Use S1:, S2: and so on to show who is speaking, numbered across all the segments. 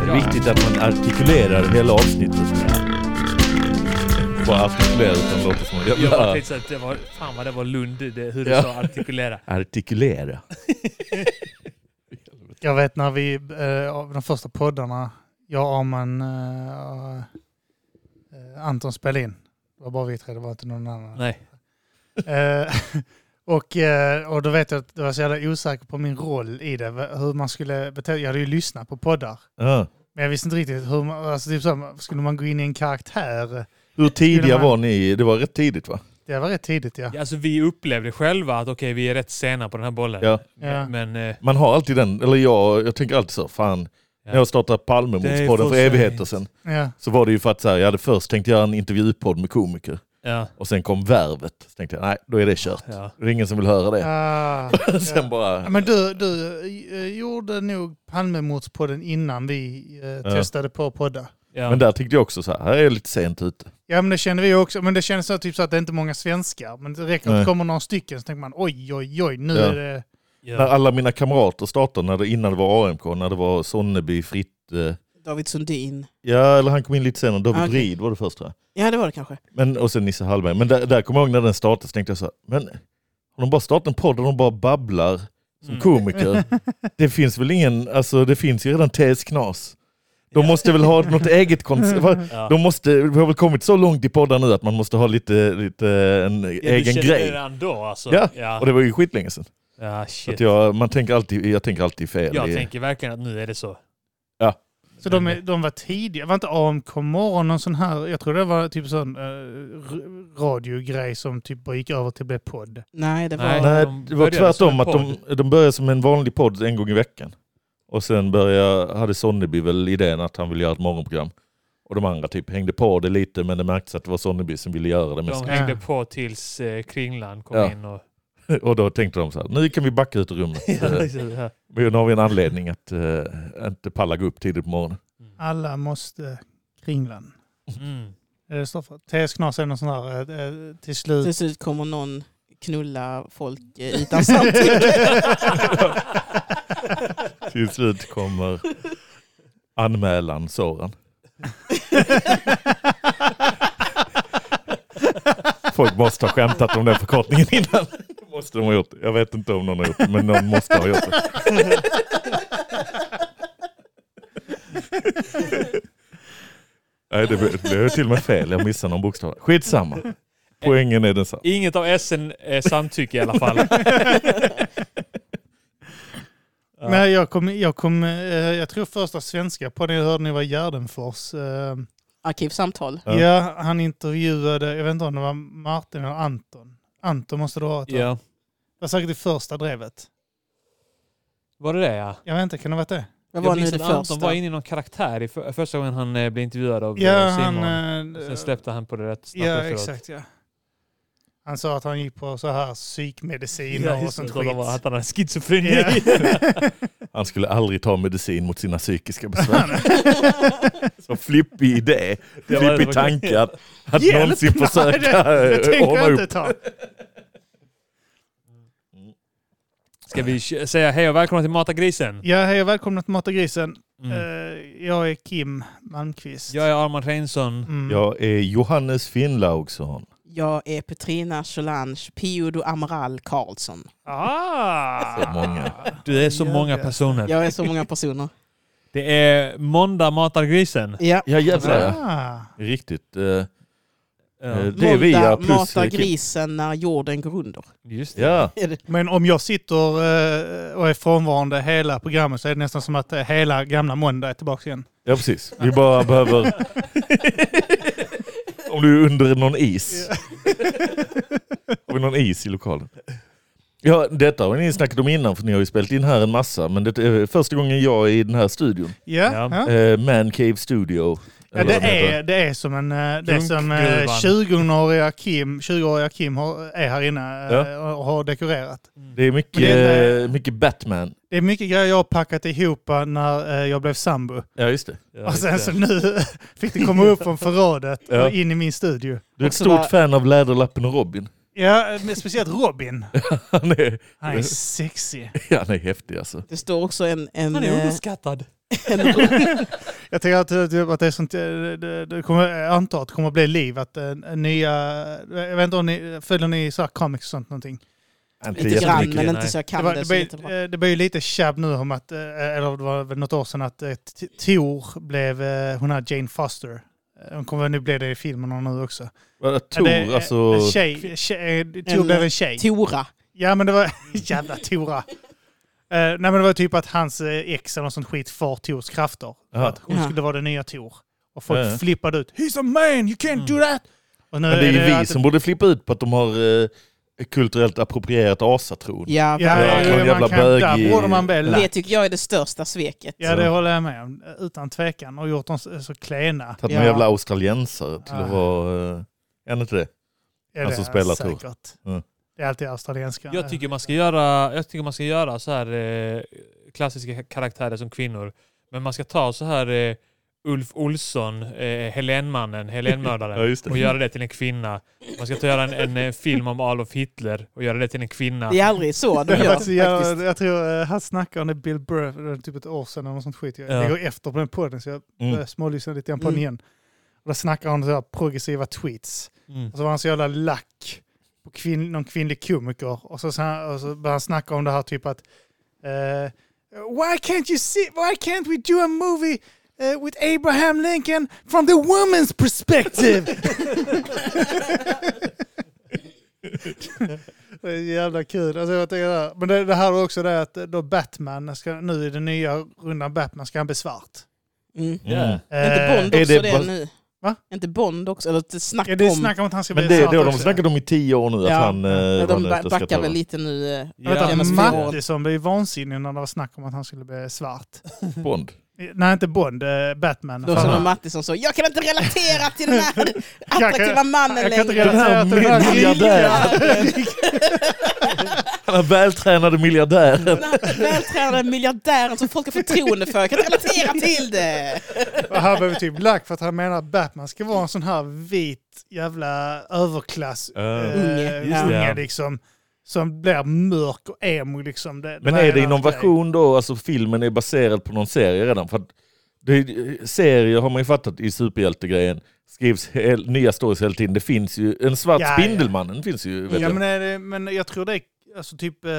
S1: är viktigt att man artikulerar hela avsnittet. Bara artikulerar utan låter som
S2: Jag bara tänkte så att det var, fan vad det var Lund, det, hur du
S1: Ja.
S2: sa artikulera.
S1: Artikulera.
S3: Jag vet när vi, eh, av de första poddarna, jag, Arman eh, eh, Anton spelade in. Det var bara vi tre, det var inte någon annan.
S2: Nej.
S3: Eh, och, eh, och då vet jag att jag var så jävla osäker på min roll i det. v- Hur man skulle bete Jag hade ju lyssnat på poddar.
S1: Ja.
S3: Men jag visste inte riktigt hur man, alltså typ så här, skulle man gå in i en karaktär?
S1: Hur tidiga
S3: Skulle man-
S1: var ni? Det var rätt tidigt va?
S3: Det var rätt tidigt ja.
S2: Ja, Alltså vi upplevde själva att okej, vi är rätt sena på den här bollen.
S1: Ja.
S3: Ja.
S2: Men eh,
S1: Man har alltid den, eller jag, jag tänker alltid så, fan. När jag startade Palmemordspodden
S2: för
S1: för evigheter
S2: sent.
S1: sedan
S3: ja.
S1: så var det ju för att så här, jag hade först tänkt göra en intervjupodd med komiker
S2: ja,
S1: och sen kom Värvet. Så tänkte jag, nej då är det kört.
S2: ja.
S1: Det är ingen som vill höra det.
S3: Ah,
S1: sen
S3: ja.
S1: bara,
S3: Men du, du eh, gjorde nog Palmemordspodden innan vi eh, testade på att podda.
S2: ja.
S1: men där tänkte jag också så här, här är jag lite sent ute.
S3: Ja men det kände vi också. Men det kändes så, typ så att det är inte många svenskar. Men det räcker att
S1: Nej.
S3: det kommer några stycken så tänker man oj oj oj nu
S1: Ja.
S3: är det...
S2: ja.
S1: När alla mina kamrater startade, när det, innan det var AMK, när det var Sonneby, Fritte.
S4: David Sundin.
S1: Ja, eller han kom in lite senare. David
S4: Ah, okej.
S1: Ried var det först tror jag.
S4: Ja, det var det kanske.
S1: Men, och sen Nisse Hallberg. Men där, där kommer jag ihåg när den startade så tänkte jag så här, men har de bara startat en podd där de bara babblar som
S2: Mm.
S1: komiker? Det finns väl ingen, alltså det finns ju redan TS Knas. De måste väl ha något eget koncept.
S2: Ja.
S1: De måste, vi har väl kommit så långt i poddar nu att man måste ha lite, lite en
S2: Ja, du
S1: egen
S2: kände det
S1: grej.
S2: redan då alltså.
S1: Ja,
S2: ja.
S1: Och det var ju skitlänge sedan.
S2: ja
S1: Så att
S2: shit. Jag,
S1: jag, man tänker alltid, jag tänker alltid fel. i-
S2: tänker verkligen att nu är det så.
S3: Så de, är- de var tidiga. Var inte AMK morgon någon sån här... Jag tror det var typ sån eh, r- radiogrej som typ bara gick över till att bli podd.
S4: Nej, det var...
S2: Nej.
S1: Nej,
S2: de
S1: det var
S2: började som
S1: tvärtom.
S2: en
S1: Att de, de började som en vanlig podd en gång i veckan. Och sen började, hade Sonneby väl idén att han ville göra ett morgonprogram. Och de andra typ hängde på det lite men det märktes att det var Sonneby som ville göra det mest.
S2: De hängde på tills eh, Kringland kom
S1: Ja.
S2: in. Och,
S1: Och då tänkte de så här, nu kan vi backa ut ur rummet. Eh,
S2: ja.
S1: men nu har vi en anledning att eh, inte palla gå upp tidigt på morgonen.
S3: Alla måste kringlan.
S2: Mm.
S3: Är det står för? TS Knas är någon sån här eh, eh, till
S4: Till
S3: slut...
S4: slut kommer någon knulla folk eh, utan samtycke.
S1: Till slut kommer anmälan Soran. Folk måste ha skämtat om den förkortningen innan. Det Måste de ha gjort. Jag vet inte om någon har gjort det, men någon måste ha gjort det. Nej, det blev- det blev till och med fel. Jag missade någon bokstav. Skitsamma. Poängen är densamma.
S2: Inget av S'en är samtycke i alla fall. Ja.
S3: Men jag kom... Jag, kom eh, jag tror första svenska podden jag hörde nu var Gärdenfors. Eh,
S4: Arkivsamtal.
S1: Ja.
S3: ja. han intervjuade... Jag vet inte om det var Martin eller Anton. Anton måste det ha varit. va?
S2: ja.
S3: Det var säkert det första drevet.
S2: Var det det ja?
S3: Jag vet inte, kan det ha varit det?
S4: Vad
S2: jag
S4: var nu
S2: minns
S4: det
S2: att Anton var
S4: första?
S2: inne i någon karaktär i för, första gången han eh, blev intervjuad av eh,
S3: Ja, han...
S2: Simon.
S3: eh,
S2: Sen släppte han på det rätt snabbt
S3: Ja,
S2: efteråt.
S3: exakt. Ja. Han sa att han gick på så här psykmediciner
S2: Ja,
S3: och
S2: just det, att
S3: sånt
S2: han
S3: skit.
S2: var- Att han hade schizofreni.
S3: Ja.
S1: Han skulle aldrig ta medicin mot sina psykiska besvär. Så flippig idé,
S2: Det var-
S1: flippig tanke att, att
S3: Hjälp!
S1: någonsin
S3: Nej,
S1: försöka
S3: det, det
S1: eh,
S3: tänker
S1: ordna
S3: jag
S1: upp.
S3: inte ta.
S2: Ska vi k- säga hej och välkomna till Mata grisen?
S3: Ja, hej och välkomna till Mata grisen.
S2: Mm.
S3: Eh, jag är Kim Malmqvist.
S2: Jag är Armand Reinsson.
S3: Mm.
S1: Jag är Johannes Finnlaugsson.
S4: Jag är Petrina Solange Piodo Amaral Karlsson.
S3: Ah.
S1: Så många.
S2: Du är så
S3: Ja,
S2: många
S3: ja.
S2: personer.
S4: Jag är så många personer.
S2: Det är måndag Matar grisen.
S4: Ja.
S1: Ja jävlar ja.
S3: Ah.
S1: Alltså, Riktigt. eh, eh,
S2: Ja,
S1: Det är vi ja,
S4: Måndag
S1: plus eh,
S4: matar
S1: Kim.
S4: grisen när jorden går under.
S2: just det.
S1: Ja,
S4: Är det-
S3: Men om jag sitter eh, och är frånvarande hela programmet så är det nästan som att eh, hela gamla måndag är tillbaka igen.
S1: ja precis. Vi bara behöver... Om du är under någon is. Har vi någon is i lokalen? Ja, detta har ni snackat om innan för ni har ju spelat in här en massa. Men det är första gången jag är i den här studion.
S3: Ja,
S2: Ja.
S3: ja.
S1: Eh, Man Cave Studio.
S3: Ja,
S1: eller
S3: det,
S1: vad heter.
S3: är, det är som en... eh, Det är som eh,
S2: Runkgruvan.
S3: 20-åriga Kim, 20-åriga Kim har, är här inne eh, och har dekorerat.
S1: det är mycket,
S3: Men det är-
S1: eh, mycket Batman.
S3: Det är mycket grejer jag har packat ihop eh, när eh, jag blev sambo.
S1: Ja, just det.
S2: Ja,
S3: och
S2: just
S3: sen
S2: det.
S3: så nu fick det komma upp från förrådet
S1: Ja.
S3: och in i min studio.
S1: Du är ett
S4: Också
S1: stort
S4: bara-
S1: fan av Läderlappen och Robin.
S3: Ja, men speciellt Robin.
S1: Han är,
S3: Han är sexig.
S1: han är häftig alltså.
S4: Det står också en... en
S2: Han är
S4: eh,
S2: underskattad.
S4: En ung.
S3: Jag tänker att, eh, typ att det är sånt, eh, det, det kommer, jag antar att det kommer bli liv, att eh, nya, jag vet inte om ni, följer ni så här comics och sånt någonting?
S1: Inte
S4: Lite grann,
S1: jättemycket.
S4: men inte
S2: nej.
S4: så jag
S3: Det
S4: kan
S3: var,
S4: det,
S3: det,
S4: så
S3: var, ju-
S4: jättebra.
S3: eh, det var ju lite tjabb nu om att, eh, eller det var väl något år sedan, att eh, T- Tor blev, eh, hon här Jane Foster. Eh, Hon kommer nu bli det i filmerna nu också.
S1: Vadå,
S3: Ja, det är,
S1: Tor,
S3: eh,
S1: alltså...
S3: En tjej, tjej eh, Tor
S4: En-
S3: blev en tjej.
S4: Tora.
S3: Ja men det
S4: Mm.
S3: var, jävla Tora. Eh, nej men det var typ att hans eh, ex eller något sånt skit får Tors krafter.
S1: Jaha.
S3: Att hon
S4: Ja.
S3: skulle vara den nya Tor. Och folk
S1: Ja, ja.
S3: flippade ut. He's a man, you can't
S2: Mm.
S3: do that! Och nu
S1: Men det är ju vi
S3: att-
S1: som borde flippa ut på att de har eh, kulturellt approprierat asatron.
S4: Ja,
S3: Ja,
S1: Ja,
S3: ja,
S1: någon
S3: man
S1: jävla
S3: kan,
S1: bög i-
S3: där borde man väl
S4: det tycker jag är det största sveket.
S3: Ja, det håller jag med om. Utan tvekan. Och gjort dem så, så klena.
S1: Tagit
S4: Ja.
S1: någon jävla australiensare till
S3: Ah.
S1: att vara... Eh, är det inte det?
S3: Ja,
S1: Han
S3: det
S1: som
S3: är
S1: spelar Tor.
S3: säkert.
S1: Mm.
S3: Det är alltid australienska.
S2: Jag tycker man ska göra, jag tycker man ska göra så här eh, klassiska karaktärer som kvinnor. Men man ska ta så här eh, Ulf Olsson, eh, Helenmannen,
S1: Ja,
S2: Helenmördaren
S1: just det.
S2: och göra det till en kvinna. Man ska ta göra en, en eh, film om Adolf Hitler och göra det till en kvinna.
S4: Det är aldrig så de
S3: jag,
S4: gör
S3: faktiskt, jag,
S4: faktiskt.
S3: jag tror eh, han snackade om det Bill Burr för typ ett år sedan eller något sånt skit. Jag,
S2: Ja.
S3: jag går efter på den podden så jag
S1: Mm.
S3: mm. smålyssnade lite grann på den
S4: Mm.
S3: igen. Och då snackade han om så här progressiva tweets.
S2: Mm.
S3: Och så Alltså, var han så jävla lack på kvin- någon kvinnlig komiker. Och så, så, och så började han snacka om det här typ att eh, Why can't you see, why can't we do a movie eh, with Abraham Lincoln from the woman's perspective? det är jävla kul. Alltså, jag tänker där. Men det, det här är också det att då Batman, ska, nu i den nya rundan Batman ska han bli svart.
S4: Mm.
S1: Mm.
S4: Är
S3: Eh,
S4: inte Bond
S1: är
S4: också
S1: det
S4: det,
S1: bara-
S4: nu?
S3: Va?
S4: Är inte Bond också? Eller ett snack
S3: Ja, det
S4: om...
S3: snackar om att han ska bli
S1: Men det,
S3: svart
S1: det har de
S3: också.
S1: snackat om i tio år nu, att
S4: Ja.
S1: han... Eh,
S4: Ja,
S1: var
S4: de
S1: nu
S4: ba-
S1: ute och ska
S4: backar
S1: ta-
S4: väl lite nu. eh,
S3: Jag vet
S4: Jävla
S3: att
S4: svår.
S3: Mattisson blev vansinnig när det var snack om att han skulle bli svart.
S1: Bond.
S3: Eh, Nej, inte Bond, eh, Batman.
S4: Då
S3: Fan.
S4: som när Mattisson sa jag kan inte relatera till den här attraktiva mannen
S3: jag kan inte
S4: längre.
S1: Den här
S3: relatera till den här
S1: miljardären. Han är vältränade miljardären.
S4: Den här vältränade miljardären som folk har förtroende för. Jag kan inte relatera till det.
S3: Och här blev vi typ lack för att han menar att Batman ska vara en sån här vit jävla överklass
S1: Ja.
S3: eh,
S4: Unge. Ja.
S3: unge liksom. Som blir mörk och emo liksom. Det,
S1: Men
S3: det
S1: är det
S3: hela grejen.
S1: innovation då? Alltså filmen är baserad på någon serie redan? För att det, eh, serier har man ju fattat i superhjältegrejen skrivs hel, nya stories hela tiden. Det finns ju, en svart
S3: Ja, ja.
S1: Spindelmannen finns ju. Vet
S3: Ja,
S1: jag.
S3: men, är det, men jag tror det är alltså typ, eh,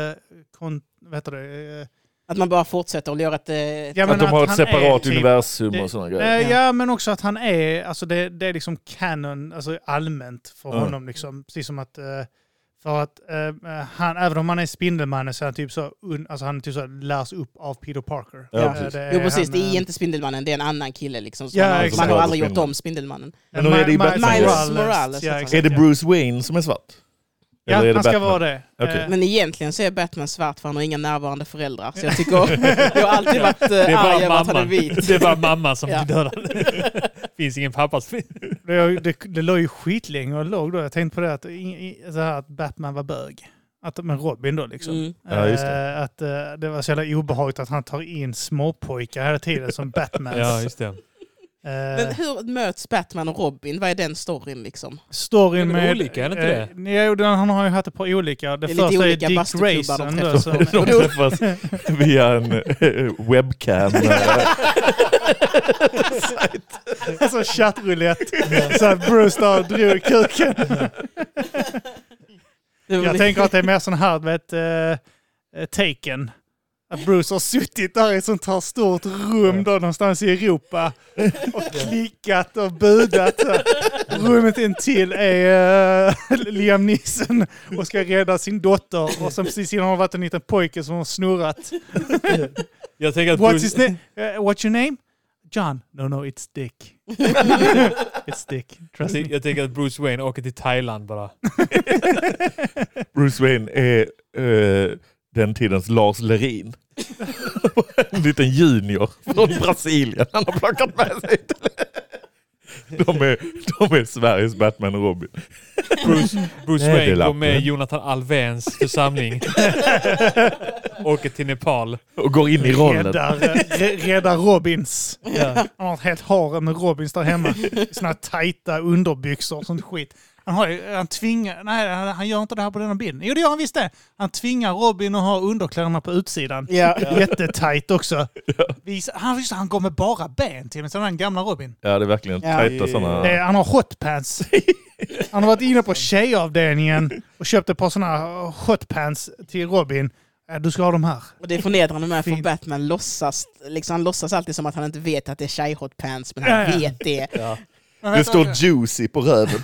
S3: kon, vad heter det? Eh,
S4: Att man bara fortsätter och gör ett... eh,
S3: ja, men
S1: att de har ett
S3: han är
S1: separat
S3: typ-
S1: universum
S3: det-
S1: och sådana grejer.
S3: Nej,
S4: Ja.
S3: Eh, ja, men också att han är, alltså det, det är liksom canon, alltså allmänt för
S1: Ja.
S3: honom liksom. Precis som att, eh, för att eh, han, även om han är Spindelmannen så är han typ så, un, alltså han är typ så lärs upp av Peter Parker.
S1: Ja,
S3: Eh,
S1: precis.
S3: är
S4: Jo precis,
S3: han,
S4: det är
S3: eh,
S4: inte Spindelmannen, det är en annan kille liksom. Så
S3: Ja,
S4: man, har-
S3: exakt.
S4: man har aldrig gjort
S1: Spindelmannen.
S4: om Spindelmannen.
S1: Men då är det i
S3: Ma-
S1: Batman.
S4: Miles Morales,
S3: Ja,
S4: heter
S3: exakt.
S1: Är det Bruce Wayne som är svart?
S3: Ja,
S1: Eller är det
S3: han ska
S1: Batman?
S3: vara det.
S1: Okej.
S3: Eh,
S4: Men egentligen så är Batman svart för han har inga närvarande föräldrar. Så jag tycker... jag har alltid varit eh,
S2: Det är
S4: arg
S2: bara
S4: över att han är
S2: mamma.
S4: vit.
S2: Det är bara mamma som
S4: Ja.
S2: blir dödad. Finns ingen pappas
S3: Det, det, det låg ju skitlänge och låg då. Jag tänkte på det att, i- i- så här, att Batman var bög. Att, men Robin då liksom.
S4: Mm.
S1: Ja, just det.
S3: Eh, Att eh, det var så jävla obehagligt att han tar in småpojkar hela tiden som Batman.
S2: Ja, just det.
S3: Eh.
S4: Men hur möts Batman och Robin? Vad är den storyn liksom?
S3: Storyn
S2: Det är väl
S3: med...
S2: olika, är det inte
S3: det? Jo, den, han har ju haft ett par olika. Det,
S4: Det är lite
S3: första är
S4: olika
S3: Dick
S4: bastuklubbar de
S3: Grayson.
S4: träffar.
S3: Då, som,
S1: De träffas via en eh, webcam.
S3: alltså chattrullett. så att Bruce där drog kuken.
S4: Det var
S3: Jag
S4: lite-
S3: tänker att det är mer sån här, vet, eh, taken. Att Bruce har suttit där i ett sånt här stort rum då någonstans i Europa och klickat och budat. Rummet intill är eh, Liam Neeson och ska rädda sin dotter och som precis innan har varit en liten pojke som har snurrat.
S2: Jag tänker att
S3: What's his
S2: Bruce,
S3: name? Uh, what's your name? John. No, no, it's Dick. it's Dick.
S2: jag
S3: Trust
S2: tänker-
S3: me.
S2: jag tänker att Bruce Wayne åker till Thailand bara.
S1: Bruce Wayne är eh, den tidens Lars Lerin. en liten junior från Brasilien han har plockat med sig. De är, de är Sveriges Batman och Robin.
S2: Bruce, Bruce
S1: Nej, det är
S2: Wayne går
S1: lappen.
S2: med i Jonathan Alvens församling. Åker till Nepal.
S1: Och går in i rollen.
S3: Räddar, rä- räddar Robins.
S2: Ja.
S3: Han har ett helt harem med Robins där hemma. Såna här tajta underbyxor och sånt skit. Han, har ju, han tvingar... Nej, han, han gör inte det här på denna bilden. Jo, det gör han visst det. Han tvingar Robin att ha underkläderna på utsidan.
S4: Ja.
S3: Jättetajt också. Visa- Han, just, det, han går med bara ben till och med, som den gamla Robin.
S1: Ja, det är verkligen
S4: Ja.
S1: tajta sådana.
S3: Eh, han har hotpants. Han har varit inne på tjejavdelningen och köpt ett par sådana hotpants till Robin. Eh, Du ska ha de här.
S4: Och det är förnedrande med för
S3: Fint.
S4: Batman låtsas, liksom, han låtsas alltid som att han inte vet att det är tjejhotpants, men
S3: Ja, ja.
S4: han vet det.
S3: Men
S1: Det
S3: vänta,
S1: står juicy på röven.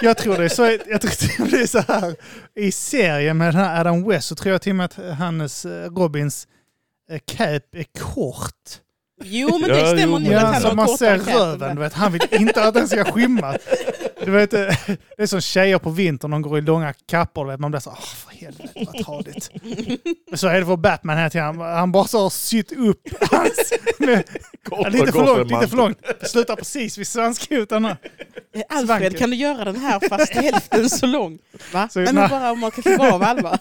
S3: Jag tror det är så, jag tror det är så här. I serien med den här Adam West så tror jag till och med att hans, eh, Robins, eh, cape är kort.
S4: Jo, men
S1: Ja,
S4: det
S1: jo,
S4: stämmer
S1: men-
S4: nog
S1: Ja,
S4: att han
S3: så
S4: har
S3: man
S4: kortare
S3: ser
S4: kläder än
S3: röven,
S4: Batman.
S3: du vet. Han vill inte att den ska skymma. Du vet, eh, det är som tjejer på vintern, de går i långa kappor. Du vet. Man blir så ah för helvete vad tradigt. Men så är det för Batman hela tiden. Han bara så har sytt upp hans... Med,
S1: Kort
S3: lite
S1: och
S3: för
S1: gott
S3: långt,
S1: med
S3: lite för
S1: mantel.
S3: långt. Slutar precis vid svanskotan. Svanken.
S4: Alfred, kan du göra den här fast hälften så lång? Va?
S3: Så-
S4: Nej,
S3: nej.
S4: men bara om man kan kliva av Alva.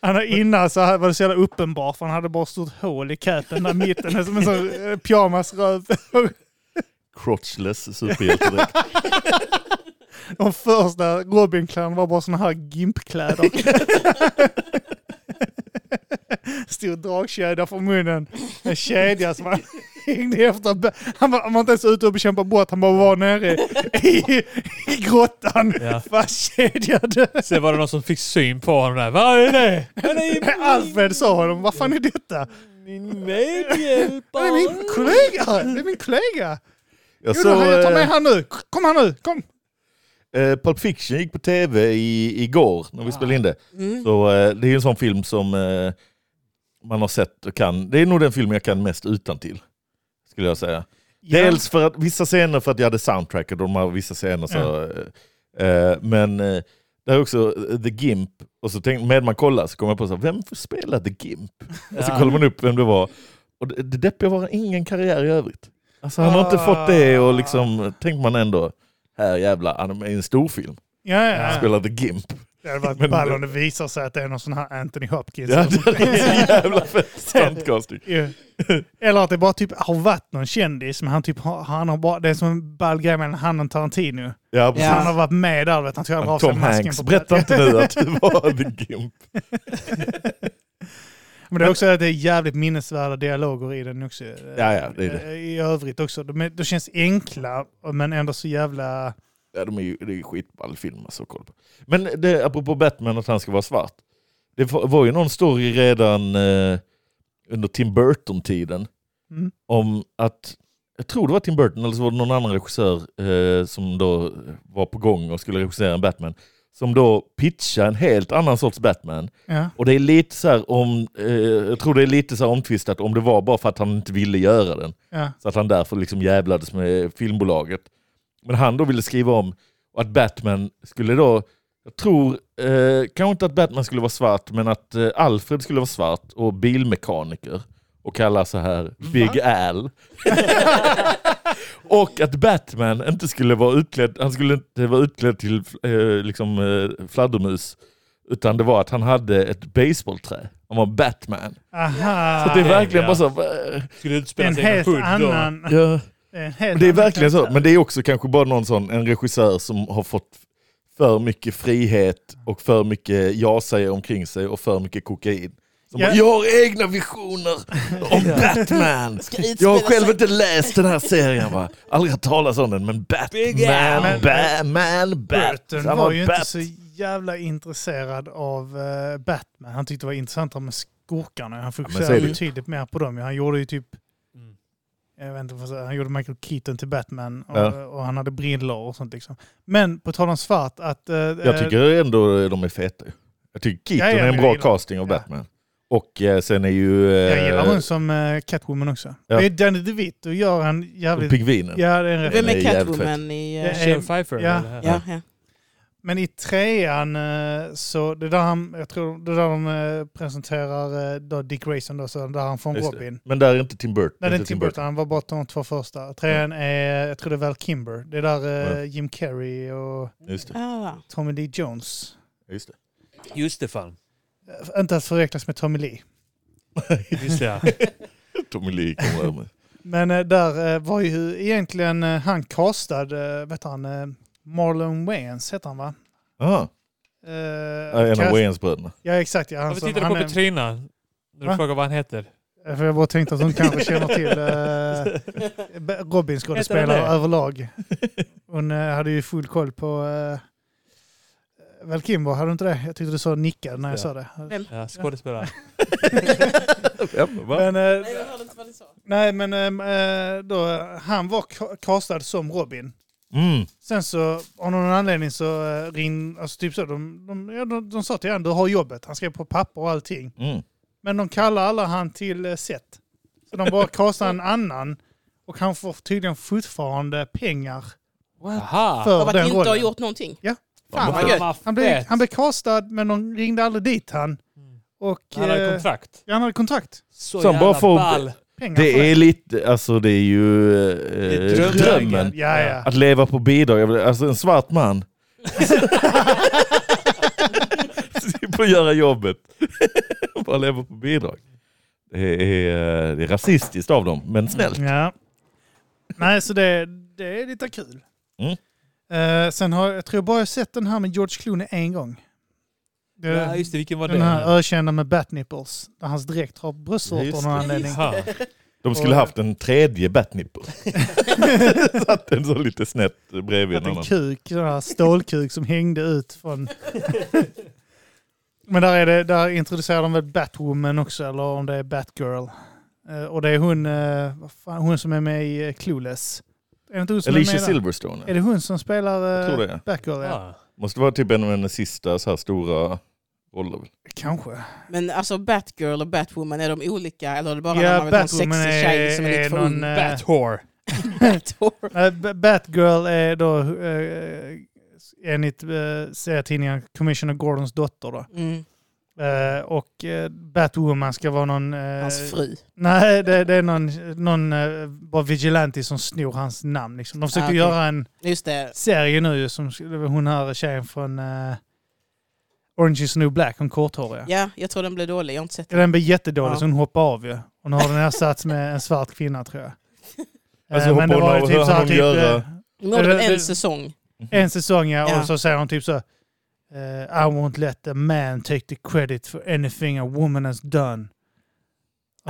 S3: Han har innan så här var det så jävla uppenbart för han hade bara ett stort hål i capen där i mitten. Det är Som en sån eh, pyjamasröv.
S1: Crotchless superhjälte direkt.
S3: De första Robin-kläderna var bara såna här gimpkläder. Stor dragkedja från munnen. En kedja som han hängde efter. Ba- Han var, han var inte ens ute och bekämpade brott, han bara var nere i, i grottan.
S2: Ja.
S3: Fast kedjade.
S2: Sen var det någon som fick syn på honom där. Vad är det?
S3: Alfred sa honom, vad fan är detta?
S2: Min
S3: Det är min
S2: medhjälpare.
S3: kollega! Det är min kollega!
S1: Jag
S3: Jo, då,
S1: såg
S3: jag tar med
S1: eh,
S3: han nu. Kom han nu, kom!
S1: eh, Pulp Fiction gick på tv i, igår när vi spelade in det.
S4: Mm.
S1: Så eh, det är en sån film som eh, man har sett och kan. Det är nog den film jag kan mest utan till. Skulle jag säga. Dels för att vissa scener för att jag hade soundtracket och de här vissa scener så... Eh, men eh, det är också eh, The Gimp. Och så tänkte, med man kollar så kom jag på så här, vem får spela The Gimp? Och så kollar man upp vem det var. Och det, det deppiga var ingen karriär i övrigt. Alltså han har inte
S3: Ah.
S1: fått det och liksom, tänkte man ändå, här jävlar, han är med i en stor film.
S3: Ja, ja. ja.
S1: Spelar The Gimp.
S3: Det hade varit
S1: Men-
S3: ball om det visar sig att det är någon sån här Anthony Hopkins.
S1: Ja, det är så jävla fett stuntcasting.
S3: Ja. Eller att det bara typ har varit någon kändis, men han typ har, han har bara, det är som en ball grej mellan han och Tarantino.
S1: Ja, precis.
S3: Han har varit med där, vet, han tog aldrig av sig
S1: Tom
S3: masken.
S1: Hanks,
S3: på-
S1: berätta inte nu att du var The Gimp.
S3: Men det är också att det är jävligt minnesvärda dialoger i den också. Eh,
S1: Ja, ja, det är det.
S3: I övrigt också. De, är- de känns enkla, men ändå så jävla...
S1: Ja, de är ju, det är ju skitball film alltså, koll på. Men det, apropå Batman, att han ska vara svart. Det var var ju någon story redan eh, under Tim Burton-tiden
S3: Mm.
S1: om att, jag tror det var Tim Burton eller så var det någon annan regissör eh, som då var på gång och skulle regissera en Batman. Som då pitchade en helt annan sorts Batman.
S3: Ja.
S1: Och det är lite så här om, eh, jag tror det är lite så här omtvistat om det var bara för att han inte ville göra den.
S3: Ja.
S1: Så att han därför liksom jävlades med filmbolaget. Men han då ville skriva om och att Batman skulle då, jag tror, eh, kanske inte att Batman skulle vara svart, men att eh, Alfred skulle vara svart och bilmekaniker och kalla så här Big Al. och att Batman inte skulle vara utklädd, han skulle inte vara utklädd till eh, liksom, eh, fladdermus. Utan det var att han hade ett baseballträ. Han var Batman.
S3: Aha.
S1: Så det är
S2: Ah,
S1: verkligen
S2: ja.
S1: bara så... eh,
S2: Skulle
S3: Det är
S2: utspela
S3: en
S2: sig i en
S3: helt
S2: hood då.
S3: annan...
S1: Ja.
S3: Det är, en helt
S1: Men det är
S3: annan
S1: verkligen så,
S3: karaktär.
S1: men det är också kanske bara någon sån, en regissör som har fått för mycket frihet och för mycket ja säger omkring sig och för mycket kokain. Som
S3: Ja.
S1: bara, jag har egna visioner om Batman!
S4: Ska utspela
S1: Jag har själv
S4: sig.
S1: inte läst den här serien va? Aldrig hört talas om den, men Batman,
S3: Men-
S1: Batman,
S3: Burton
S1: Batman,
S3: var,
S1: han var
S3: ju inte
S1: Bat.
S3: så jävla intresserad av eh, Batman. Han tyckte det var intressantare med skurkarna. Han
S1: men så är
S3: fokuserade
S1: det ju.
S3: betydligt mer på dem. Han gjorde ju typ...
S2: Mm.
S3: Jag vet inte vad jag ska säga, han gjorde Michael Keaton till Batman och,
S1: Ja.
S3: och han hade brillor och sånt liksom. Men på tal om svart att... eh,
S1: Jag tycker ändå de är feta. Jag tycker Keaton
S3: Ja, ja,
S1: är en
S3: jag
S1: bra
S3: gillar-
S1: casting av
S3: ja.
S1: Batman. Och eh, sen är ju...
S3: eh, jag gillar
S1: Eh,
S3: hon som eh, Catwoman också.
S1: Ja.
S3: Det är Danny DeVito gör han jävligt...
S1: Pingvinen.
S3: Ja, det är en rätt.
S4: Vem
S1: Den
S4: är
S1: är jävligt
S4: Catwoman i...
S3: Det
S4: eh,
S3: är-
S2: Shane Pfeiffer?
S3: Ja.
S2: eller?
S4: Ja, ja.
S3: Men i trean eh, så, det där han, jag tror, det där de eh, presenterar eh, då Dick Grayson då, så där han från
S1: Just det.
S3: Robin.
S1: Men där är inte Tim Burton.
S3: Nej, det är inte Tim Burton. Han var bara de två första. Trean är, jag tror det är Val Kimber. Det är där eh, Jim Carrey och
S1: Just det.
S4: Ah, va.
S3: Tommy Lee Jones.
S1: Just det.
S2: Just det fan.
S3: Eh, Inte att förväxlas med Tommy Lee.
S2: Just det ja.
S1: Tommy Lee kommer över mig.
S3: Men eh, där eh, var ju egentligen eh, han castad, eh, vet han, eh, Marlon Wayans heter han va?
S1: Ah,
S3: Eh,
S1: en av
S3: kan-
S1: Wayans-bröderna.
S3: Ja exakt, ja. Han,
S2: Varför
S3: som,
S2: tittar du
S3: han
S2: på
S3: är,
S2: Petrina? När du
S3: Va?
S2: frågar vad han heter.
S3: för jag bara tänkte att hon kanske känner till eh, Robin skådespelare
S2: Heter han det?
S3: överlag. Hon eh, hade ju full koll på eh, väl Kimbo, hade du inte det? Jag tyckte du sa nickade när jag
S1: Ja.
S3: sa det.
S2: Ja, skådespelare.
S1: Vem? Va?
S3: Men, eh,
S4: Nej, jag hörde inte vad du sa.
S3: nej men ehm, eh, då, eh, han var ca- castad som Robin.
S1: Mm.
S3: Sen så av någon anledning så eh, ring, alltså typ så, de, de, ja, de, de sa till honom du har jobbet, han skrev på papper och allting.
S1: Mm.
S3: Men de kallar alla han till eh, Seth. Så de bara kastar en annan och han får tydligen fortfarande pengar
S2: Aha!
S3: för
S4: Av
S3: den
S4: att inte ha
S3: rollen.
S4: gjort någonting.
S3: Ja.
S4: Fan vad
S2: Fan,
S4: gött.
S2: vad
S3: Han blev,
S2: fett.
S3: han blev castad men de ringde aldrig dit han.
S2: Mm.
S3: Och
S2: Han hade
S3: eh,
S2: kontrakt.
S3: ja, han hade kontrakt.
S2: Så
S1: Så han bara
S2: jävla
S1: får-
S2: ball.
S3: Pengar för
S1: Det är lite, alltså det är ju eh,
S2: är drömmen.
S1: drömmen.
S3: Ja, ja.
S1: Att leva på bidrag, Jag vill- alltså en svart man. Slipper göra jobbet. Bara leva på bidrag. Det är, eh, det är rasistiskt av dem, men snällt.
S3: Ja. Nej, så det, det är lite kul.
S1: Mm.
S3: Eh, sen har jag tror bara jag sett den här med George Clooney en gång. Det,
S2: Ja, just det. Vilken var
S3: den här
S2: det?
S3: ökända med bat nipples. Där hans direkt har bröstvårtor av
S1: Just
S3: någon
S1: det.
S3: anledning.
S2: Aha.
S1: De skulle haft en tredje batnipple. Satt den så lite snett bredvid en
S3: Att en
S1: annan.
S3: kuk, sån här stålkuk som hängde ut från... Men där, är det, där introducerar de väl Batwoman också, eller om det är Batgirl. Eh, och det är hon, eh, vad fan, hon som är med i eh, Clueless. Är det inte hon som är
S1: Alicia
S3: med där?
S1: Silverstone.
S3: Är det hon som spelar
S1: Jag
S3: eh,
S1: tror det.
S3: Batgirl? Ja.
S2: Ja.
S1: Måste vara typ en av hennes sista så här stora roller. väl?
S3: Kanske.
S4: Men alltså Batgirl och Batwoman, är de olika eller är det bara när
S3: Ja,
S4: man vill ha en sexig
S3: Batwoman är,
S4: tjej
S3: är,
S4: som är lite för
S3: någon...
S4: ung?
S3: eh,
S2: Bat-whore.
S4: Bathor.
S3: nej, Eh, B- Batgirl är då eh, enligt eh, serietidningen Commissioner Gordons dotter. Då.
S4: Mm,
S3: Eh, och eh, Batwoman ska vara någon... eh,
S4: hans fru.
S3: Nej, det, det är någon, någon eh, bara vigilante som snor hans namn. Liksom. De försökte
S4: Ah, okej.
S3: göra en
S4: Just det.
S3: serie nu som det var hon här tjejen från eh, Orange is the new black, hon korthåriga.
S4: Ja, jag tror den blev dålig. Jag har inte sett
S3: Ja,
S4: den.
S3: Den blev jättedålig
S4: Ja.
S3: så hon hoppade av ju. Och nu har den ersatts med en svart kvinna tror jag.
S1: Alltså,
S3: Eh,
S1: hoppar hon av? Hör
S3: så här,
S1: hon göra-
S3: eh,
S4: Nu har det
S3: det-
S4: väl
S3: det-
S4: en säsong.
S3: en säsong ja,
S4: Ja.
S3: och så säger hon typ så eh, I won't let a man take the credit for anything a woman has done.
S4: I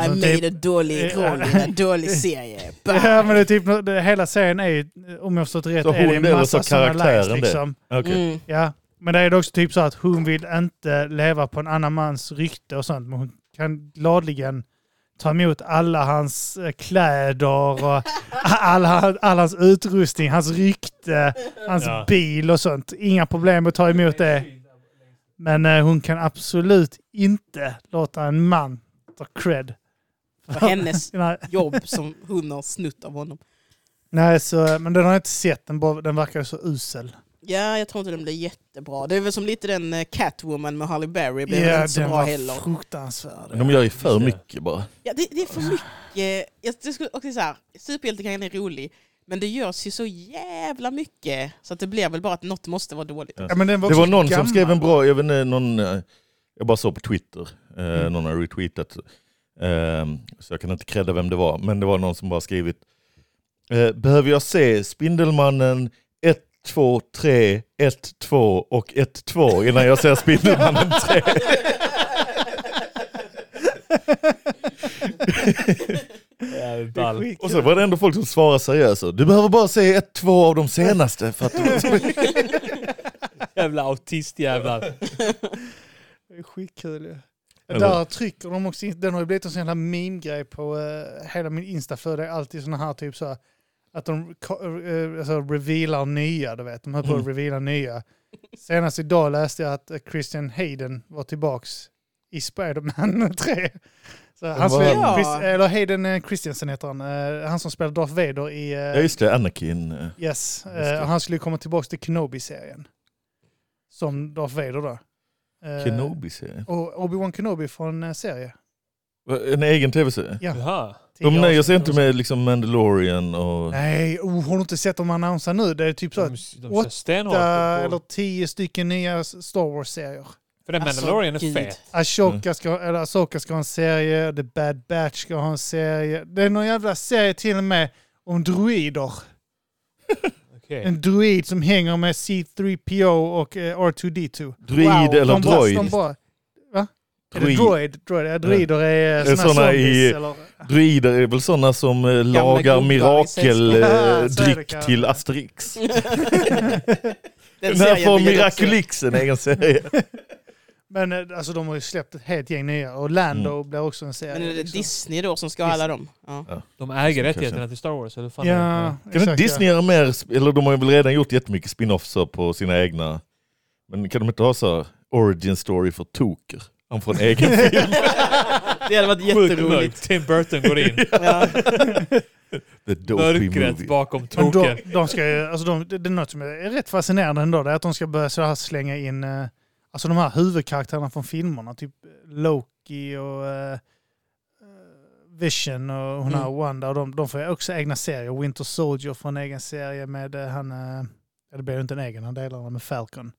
S3: Alltså,
S4: made a dålig
S3: Ja.
S4: roll i en dålig serie.
S3: Ja, men det är typ, det, hela serien är ju, om jag förstått rätt,
S1: Så
S3: är det
S1: hon
S3: en
S1: eller
S3: massa
S1: så
S3: sådana lines
S1: karaktären det?
S3: liksom.
S1: Okej.
S4: Mm.
S3: Ja, men det är också typ så att hon vill inte leva på en annan mans rykte och sånt, men hon kan gladligen ta emot alla hans eh, kläder och all, all, all hans utrustning, hans rykte, hans
S2: Ja.
S3: bil och sånt. Inga problem att ta emot det. Men eh, hon kan absolut inte låta en man ta cred.
S4: För hennes
S3: Nej.
S4: jobb som hon har snutt av honom.
S3: Nej, så, men den har jag inte sett. Den, bara, den verkar så usel.
S4: Ja, jag tror inte den blev jättebra. Det är väl som lite den eh, Catwoman med Halle Berry blev väl
S3: Ja,
S4: inte så
S3: den
S4: bra
S3: var
S4: heller.
S3: fruktansvärd.
S1: Men de gör ju för
S2: Just det.
S1: mycket bara.
S4: Ja, det, det är för mycket. Jag, jag skulle också så här, superhjältegrejen är rolig, men det görs ju så jävla mycket så att det blir väl bara att något måste vara dåligt.
S3: Ja, men den var
S1: Det
S3: också
S1: var någon
S3: gammal.
S1: som skrev en bra, jag vet inte, någon, eh, jag bara såg på Twitter, eh, någon har retweetat, eh, så jag kan inte credda vem det var, men det var någon som bara skrivit, eh, behöver jag se Spindelmannen 1, 2, 3, 1, 2 och 1, 2 innan jag ser Spindelmannen 3?
S2: Ball.
S1: Och så var det ändå folk som svarade seriöst, du behöver bara se 1, 2 av de senaste för att du...
S2: Jävla autistjävlar.
S3: Det är skitkul ju.
S1: Eller-
S3: Där trycker de också in, den har ju blivit en sån jävla meme-grej på eh, hela min insta för det är alltid såna här typ så här, att de ka- eh, alltså, revealar nya, du vet. De höll på att
S1: Mm.
S3: reveala nya. Senast idag läste jag att eh, Christian Hayden var tillbaks i Spider-Man 3. Så han
S1: var-
S3: spelar,
S4: Ja.
S3: Chris, eller Hayden eh, Christensen heter han. Eh, han som spelar Darth Vader i... eh,
S1: ja just det, Anakin. eh,
S3: Yes, eh,
S1: det.
S3: han skulle komma tillbaka till Kenobi-serien. Som Darth Vader då. Eh,
S1: Kenobi-serien.
S3: Och Obi-Wan Kenobi från eh, serie.
S1: En egen tv-serie.
S3: Ja.
S2: Jaha.
S3: Tio
S1: De nöjer sig
S3: avsnitt.
S1: inte med liksom Mandalorian och...
S3: Nej, oh, har du inte sett dem annonsa nu? Det är typ så
S2: De,
S3: att
S2: de kör stenhårt.
S3: åtta
S2: på-
S3: eller tio stycken nya s- Star Wars-serier.
S2: För den
S4: Alltså,
S2: Mandalorian är
S4: gud.
S2: fet.
S1: Mm.
S3: Ashoka ska, eller Ashoka ska ha en serie, The Bad Batch ska ha en serie. Det är någon jävla serie till och med om druider.
S2: Okej.
S3: En druid som hänger med C3PO och eh, R2D2.
S1: Druid eller
S3: de bara-
S1: droid?
S3: de bara- Va? Är det
S1: Druid.
S3: droid? droid? Ja, druider är
S1: Är
S3: sådana
S1: såna
S3: zombies.
S1: i-
S3: eller,
S1: Druider är väl sådana som eh, lagar
S4: gubbar i
S3: sällskap. Ja, så är det
S1: mirakeldryck
S3: kanske.
S1: till Asterix.
S4: Den
S1: Den här
S4: serien
S1: får
S4: vill jag också se.
S1: Miraculix en egen serie.
S3: men eh, alltså, de har ju släppt ett helt gäng nya. Och Lando
S1: Mm.
S3: blir också en serie.
S4: Men är det
S3: liksom.
S4: Disney då som ska ha alla dem? Ja.
S2: De äger
S1: Kanske.
S2: rättigheterna till Star Wars, eller hur fan är det?
S3: Ja,
S1: Kan inte
S3: exakt,
S1: Disney göra mer, sp- eller de har ju väl redan gjort jättemycket spin-offs på sina egna. Men kan de inte ha så här origin story för Toker? Han får en egen film.
S4: Det hade varit
S2: Sjukt
S4: jätteroligt.
S2: mörkt. Tim Burton går in.
S4: Ja.
S1: The Dopey
S2: Mörkret
S1: Movie.
S2: bakom
S3: Men de,
S2: token.
S3: de ska ju, alltså de, det det är något som är rätt fascinerande ändå, det är att de ska börja så här slänga in eh, alltså de här huvudkaraktärerna från filmerna, typ Loki och eh, eh, Vision och hon här
S4: Mm.
S3: Wanda, och de, de får ju också egna serier. Winter Soldier får en egen serie med eh, han, eh, ja, det blir ju inte en egen, han delar den med Falcon.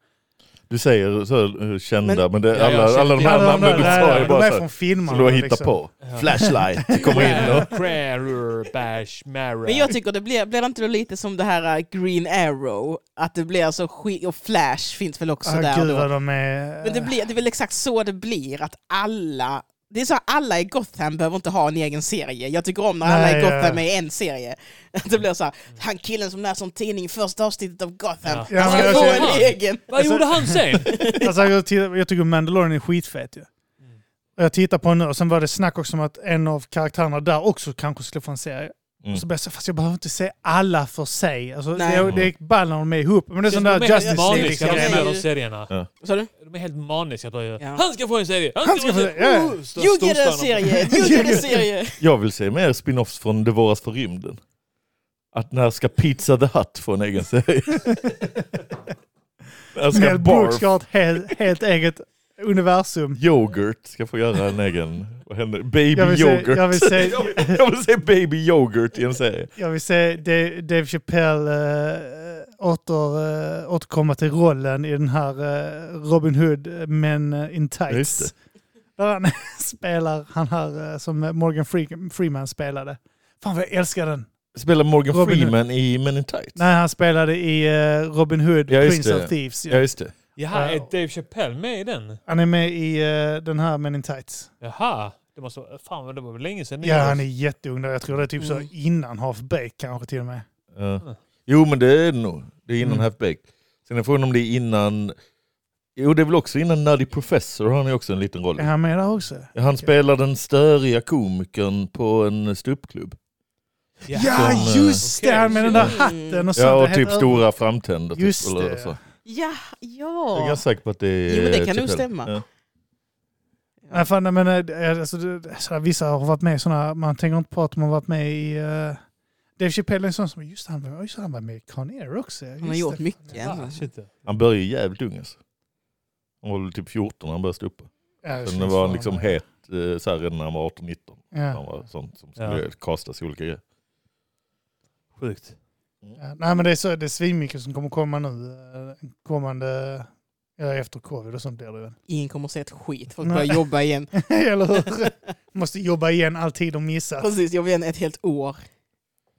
S1: Du säger så här, eh, kända, men, det,
S2: Ja, ja,
S1: alla,
S2: känt-
S1: alla de
S2: ja,
S1: här
S3: Ja, de,
S1: namnen du
S3: där-
S1: sa
S3: där-
S1: är
S3: de
S1: bara
S3: är
S1: så här,
S3: från filmerna.
S1: som du har hittat
S3: liksom.
S1: på. Flashlight kommer in och...
S2: Prarer, bash, mara.
S4: Men jag tycker det blir, blir det inte då lite som det här äh, Green Arrow? Att det blir så skit, och Flash finns väl också
S3: Ah,
S4: där
S3: gud
S4: då?
S3: vad de är...
S4: Men det, blir, det är väl exakt så det blir, att alla... Det är så här, alla i Gotham behöver inte ha en egen serie. Jag tycker om när alla i
S3: Nej, ja, ja.
S4: Gotham är en serie. Att Det blir så här, han killen som läser en tidning i första avsnittet av Gotham,
S3: Ja,
S4: han
S3: men
S4: ska
S3: jag
S4: få
S3: ser-
S4: en egen!
S2: Vad gjorde han sen?
S3: Alltså, jag, tittar- jag tycker Mandalorian är skitfet ju.
S2: Mm.
S3: Och jag tittar på den nu och sen var det snack också om att en av karaktärerna där också kanske skulle få en serie.
S1: Mm.
S3: Och så blev jag så, fast jag behöver inte se alla för sig. Alltså, det,
S4: Nej.
S3: är- det är ball när de är ihop. Men det är sån där
S2: de är helt
S3: Justice League.
S2: maniska,
S4: liksom.
S2: de
S4: Ja,
S2: här
S4: ja,
S2: de
S4: ja.
S2: serierna.
S4: Vad sa du?
S2: De är helt maniska. Bara,
S4: Ja.
S2: Han ska få en serie! Han ska,
S3: Han ska
S2: få en
S3: få- ja,
S2: serie!
S3: ja.
S2: Oh, stor-
S4: You get a
S2: storstjärnan.
S4: serie! You get a serie!
S1: Jag vill se mer spin-offs från Det våras för rymden. Att när ska Pizza the Hut få en egen serie? när ska
S3: Mel Brooks ska
S1: Barf
S3: ha ett helt, helt eget universum.
S1: Yoghurt ska få göra en egen... Vad händer? Baby
S3: Jag vill se-
S1: Yoghurt.
S3: jag vill se-
S1: jag, vill, jag vill se Baby Yoghurt i en serie.
S3: Jag vill se Dave, Dave Chappelle äh, åter, eh, återkomma till rollen i den här eh, Robin Hood, eh, men eh, in
S1: Just
S3: tights. Där han spelar han här eh, som Morgan Freak- Freeman spelade. Fan vad jag älskar den.
S1: Spelar Morgan
S3: Robin Hood.
S1: Freeman i Men in Tights?
S3: Nej, han spelade i eh, Robin Hood,
S1: Ja, just
S3: Prince
S1: det.
S3: of Thieves. ju.
S1: Ja, just det.
S2: Jaha, är
S3: Wow.
S2: Dave Chappelle med i den?
S3: Han är med i eh, den här Men in Tights.
S2: Jaha. Det, måste, vara- fan, vad det var väl länge sedan.
S3: Ja, han är jätteung där. Jag tror det är typ så
S4: Mm.
S3: innan Half Baked kanske till och med.
S1: Ja. Jo, men det är det nog. Det är innan
S3: Mm.
S1: Half Baked. Sen är frågan om det är innan... Jo, det är väl också innan Nutty Professor. Han är också en liten roll.
S3: Är han med där också?
S1: Han spelar den störiga komikern på en ståuppklubb.
S3: Ja,
S1: Som, eh,
S3: just det!
S2: okej,
S3: Han med den där
S4: shit.
S3: hatten och sånt.
S1: Ja,
S3: Det
S1: och
S3: är
S1: typ
S3: helt
S1: stora framtänder. Typ,
S3: Just
S1: eller
S3: det.
S1: så.
S4: Ja,
S1: Jag är
S4: ja.
S1: ganska säker på att det är...
S4: Jo, men det
S3: typ
S4: kan
S1: Chappelle.
S4: nog stämma.
S1: Ja.
S3: Nej, fan, nej, men, eh, alltså, det- alltså, vissa har varit med i sådana, man tänker inte på att de har varit med i... eh, Dave Chappelle är en sån som, just det, han, var- just det, han var med i Con Air också.
S4: Han har gjort mycket.
S2: Ah, shit.
S1: Han börjar ju jävligt ung alltså. Han var väl typ 14 när han började stå upp. Sen var han liksom het eh, så här, redan när han var 18-19. Han
S3: Ja.
S1: var sånt som skulle kastas i olika grejer.
S2: Sjukt.
S3: Ja, nej men det är, så, det är svinmycket som kommer komma nu. eh, Kommande, eller efter covid och sånt blir det väl.
S4: Ingen kommer att se ett skit, folk
S3: Nej.
S4: börjar jobba igen.
S3: eller hur? Måste jobba igen all tid de missat.
S4: Precis, jobba igen ett helt år.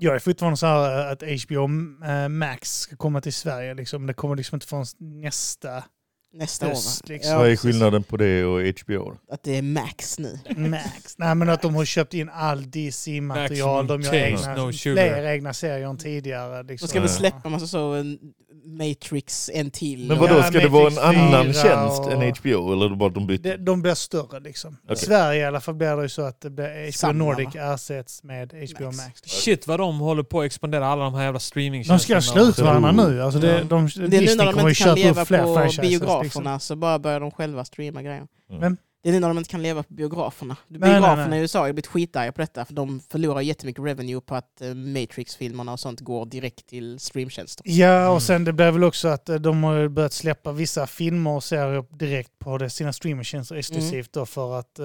S3: Jag är fortfarande så här eh, att HBO eh, Max ska komma till Sverige liksom. Det kommer liksom inte förrän nästa
S4: Nästa år
S3: höst.
S4: va?
S3: Liksom.
S1: Vad är
S3: precis.
S1: skillnaden på det och HBO?
S4: Att det är max nu.
S3: Max. Nej men att de har köpt in all DC-material. De gör
S2: Maximum
S3: egna,
S2: taste, no sugar.
S3: fler egna serier än tidigare. Liksom.
S4: De ska
S1: Nej.
S4: väl släppa en massa så, en Matrix, en till.
S1: Men
S4: och-
S1: vadå,
S3: Ja,
S1: ska det vara en
S3: Matrix
S1: annan
S3: 4
S1: tjänst
S3: och-
S1: än HBO? Eller är det bara att de byter?
S3: De, de blir större liksom.
S1: Okej.
S3: I Sverige i alla fall blir det ju så att det blir HBO
S4: Samma,
S3: Nordic
S4: va?
S3: ersätts med HBO Max.
S4: Max.
S2: Shit vad de håller på att expandera alla de här jävla
S3: De ska
S2: streamingtjänsterna.
S3: sluta varandra nu. Alltså det,
S4: Ja.
S3: de,
S4: Det är nu när
S3: Disney
S4: de
S3: kommer ju
S4: inte kan
S3: köpa
S4: leva
S3: upp fler
S4: på
S3: franchises.
S4: biograferna
S3: Liksom.
S4: så bara börjar de själva streama grejer.
S1: Mm.
S3: Vem?
S4: Det är nu när de inte kan leva på biograferna.
S3: nej,
S4: biograferna
S3: nej.
S4: i USA har ju blivit skitarga på detta för de förlorar jättemycket revenue på att eh, Matrix-filmerna och sånt går direkt till streamtjänster.
S3: Ja,
S2: Mm.
S3: och sen det blir väl också att eh, de har ju börjat släppa vissa filmer och serier direkt på det, sina streamingtjänster
S4: Mm.
S3: exklusivt då för att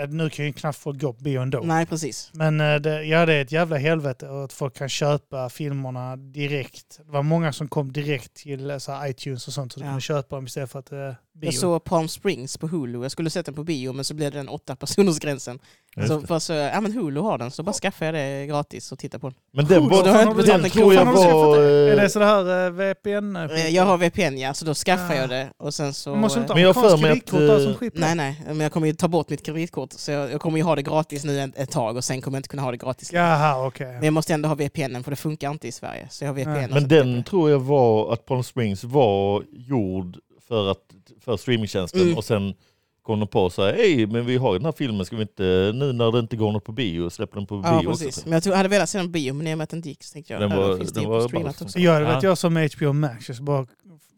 S3: eh, nu kan ju knappt folk gå på bio ändå.
S4: Nej, precis.
S3: Men eh, det, ja, det är ett jävla helvete och att folk kan köpa filmerna direkt. Det var många som kom direkt till eh, så här, iTunes och sånt så du
S4: Ja.
S3: kunde köpa dem istället för att eh, bio.
S4: Jag såg Palm Springs på Hulu. Jag skulle sett den på bio men så blev det den åtta personers gränsen.
S1: Just
S4: Så
S3: alltså,
S1: det.
S4: bara så, ja men Hulu har den så bara skaffade jag det gratis och tittade på den.
S1: Men den,
S4: Då har
S1: var,
S4: jag inte betalat
S1: den
S4: en
S1: tror
S4: krona.
S1: jag
S3: Fan, har
S1: var...
S3: du Är
S1: eh,
S3: det så det här eh, VPN?
S4: Eh, Jag har VPN ja, så då skaffade jag det och sen så...
S3: Du Ah. måste inte ha
S1: Men jag har för
S3: amerikansk
S1: mig att,
S3: kreditkort där som
S1: eh,
S3: skipper?
S4: Nej nej, men jag kommer ju ta bort mitt kreditkort så jag, jag kommer ju ha det gratis nu ett, ett tag och sen kommer jag inte kunna ha det gratis.
S3: Jaha, okej.
S4: Men jag måste ändå ha VPN för det funkar inte i Sverige. Så jag har VPN.
S3: Nej.
S4: och
S1: Men
S4: så-
S1: den tror jag var att Palm Springs var gjord för, att, för streamingtjänsten
S4: Mm.
S1: och sen kom de på så här, hej men vi har ju den här filmen, ska vi inte, nu när det inte går något på bio, släppa den på
S4: Ja
S1: bio
S4: precis.
S1: också.
S4: Men jag tror, hade velat se den på bio men i och med att den inte gick så tänkte jag
S1: Den
S4: ja,
S1: var-
S4: då finns det
S1: den
S4: ju
S1: var
S4: på streamat
S1: ball.
S4: också.
S3: Så gör det
S2: Ja.
S3: vet jag som HBO Max, jag ska bara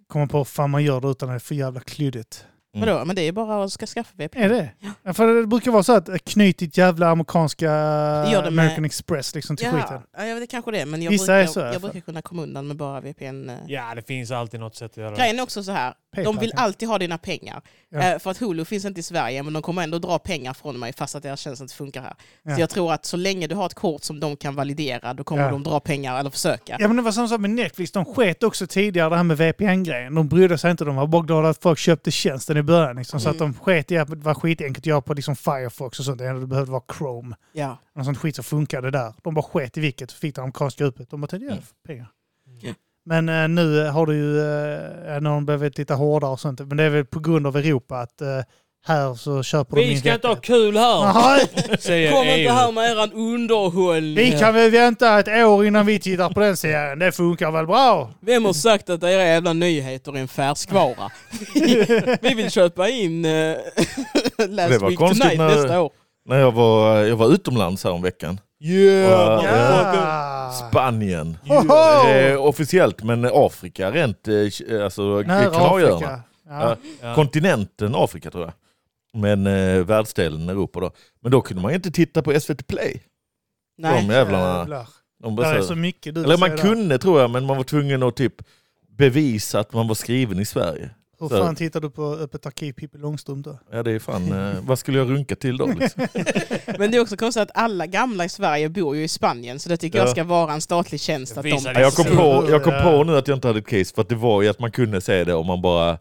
S3: komma på hur fan man gör det utan att det är för jävla klyddigt.
S1: Mm.
S4: Vadå? Men det är bara att ska skaffa VPN.
S3: Är det? Ja. För det brukar vara så att eh, knyt ditt jävla amerikanska eh,
S4: gör det med-
S3: American Express liksom till skiten.
S4: ja, jag vet kanske det. Men jag
S3: Vissa
S4: brukar,
S3: är så i alla
S4: jag
S3: fall.
S4: brukar kunna komma undan med bara VPN. eh.
S2: Ja, det finns alltid något sätt att göra det.
S4: Grejen är också så här,
S3: Paypal,
S4: de vill
S3: tänker jag.
S4: alltid ha dina pengar.
S3: Ja.
S4: Eh, För att Hulu finns inte i Sverige, men de kommer ändå dra pengar från mig fast att deras tjänst inte funkar här.
S3: Ja.
S4: Så jag tror att så länge du har ett kort som de kan validera, då kommer
S3: Ja.
S4: de dra pengar eller försöka.
S3: Ja men det var samma sak med Netflix, de sket också tidigare det här med VPN-grejen. De brydde sig inte, de var bara glada att folk köpte tjänsten i början. Liksom, Så att
S2: Mm.
S3: de sket i att det var skitenkelt att göra på liksom Firefox och sånt. Det enda du behövde var Chrome.
S4: Ja.
S3: Något sånt skit som funkade där. De bara sket i vilket och fick det amerikanska utbudet. De bara tänkte, ja,
S1: Mm.
S3: pengar.
S4: Ja.
S3: Men eh, nu har du ju, eh, när de blivit lite hårdare och sånt. Men det är väl på grund av Europa att eh, här så köper de
S2: Vi
S3: in
S2: ska inte ha
S3: rättighet.
S2: kul här,
S3: Nej,
S2: säger
S4: Kom inte
S2: EU.
S4: här med eran underhållning.
S3: vi kan väl vänta ett år innan vi tittar på den serien. Det funkar väl bra?
S4: Vem har sagt att era jävla nyheter är en färskvara? Vi vill köpa in eh,
S1: Det
S4: Last
S1: var
S4: Week
S1: konstigt
S4: Tonight
S1: när-
S4: nästa år.
S1: När jag var, jag var utomlands häromveckan,
S2: Yeah,
S1: Ja.
S2: motherfucker.
S1: Spanien.
S3: Hoho!
S1: Eh, officiellt, men Afrika rent, eh, alltså
S3: Nära
S1: Kanarieöarna.
S3: Afrika. Ja.
S2: Ja.
S1: Kontinenten Afrika tror jag. Men eh, världsdelen Europa då. Men då kunde man ju inte titta på SVT Play.
S4: Nej.
S1: De jävlarna.
S3: Jävlar.
S1: De bara
S3: Där är
S1: så
S3: så mycket du
S1: Eller man
S3: säger där.
S1: kunde tror jag, men man var tvungen att typ bevisa att man var skriven i Sverige.
S3: Hur
S1: så.
S3: fan tittar du på Öppet arkiv Pippi Långstrump då?
S1: Ja, det är fan, eh, vad skulle jag runka till då? Liksom?
S4: Men det är också konstigt att alla gamla i Sverige bor ju i Spanien, så det tycker
S1: Ja.
S4: jag ska vara en statlig tjänst. Att de...
S2: Visa
S1: Ja,
S2: det.
S1: jag, kom på, Alltså, jag kom på nu att jag inte hade ett case, för att det var ju att man kunde säga det om man bara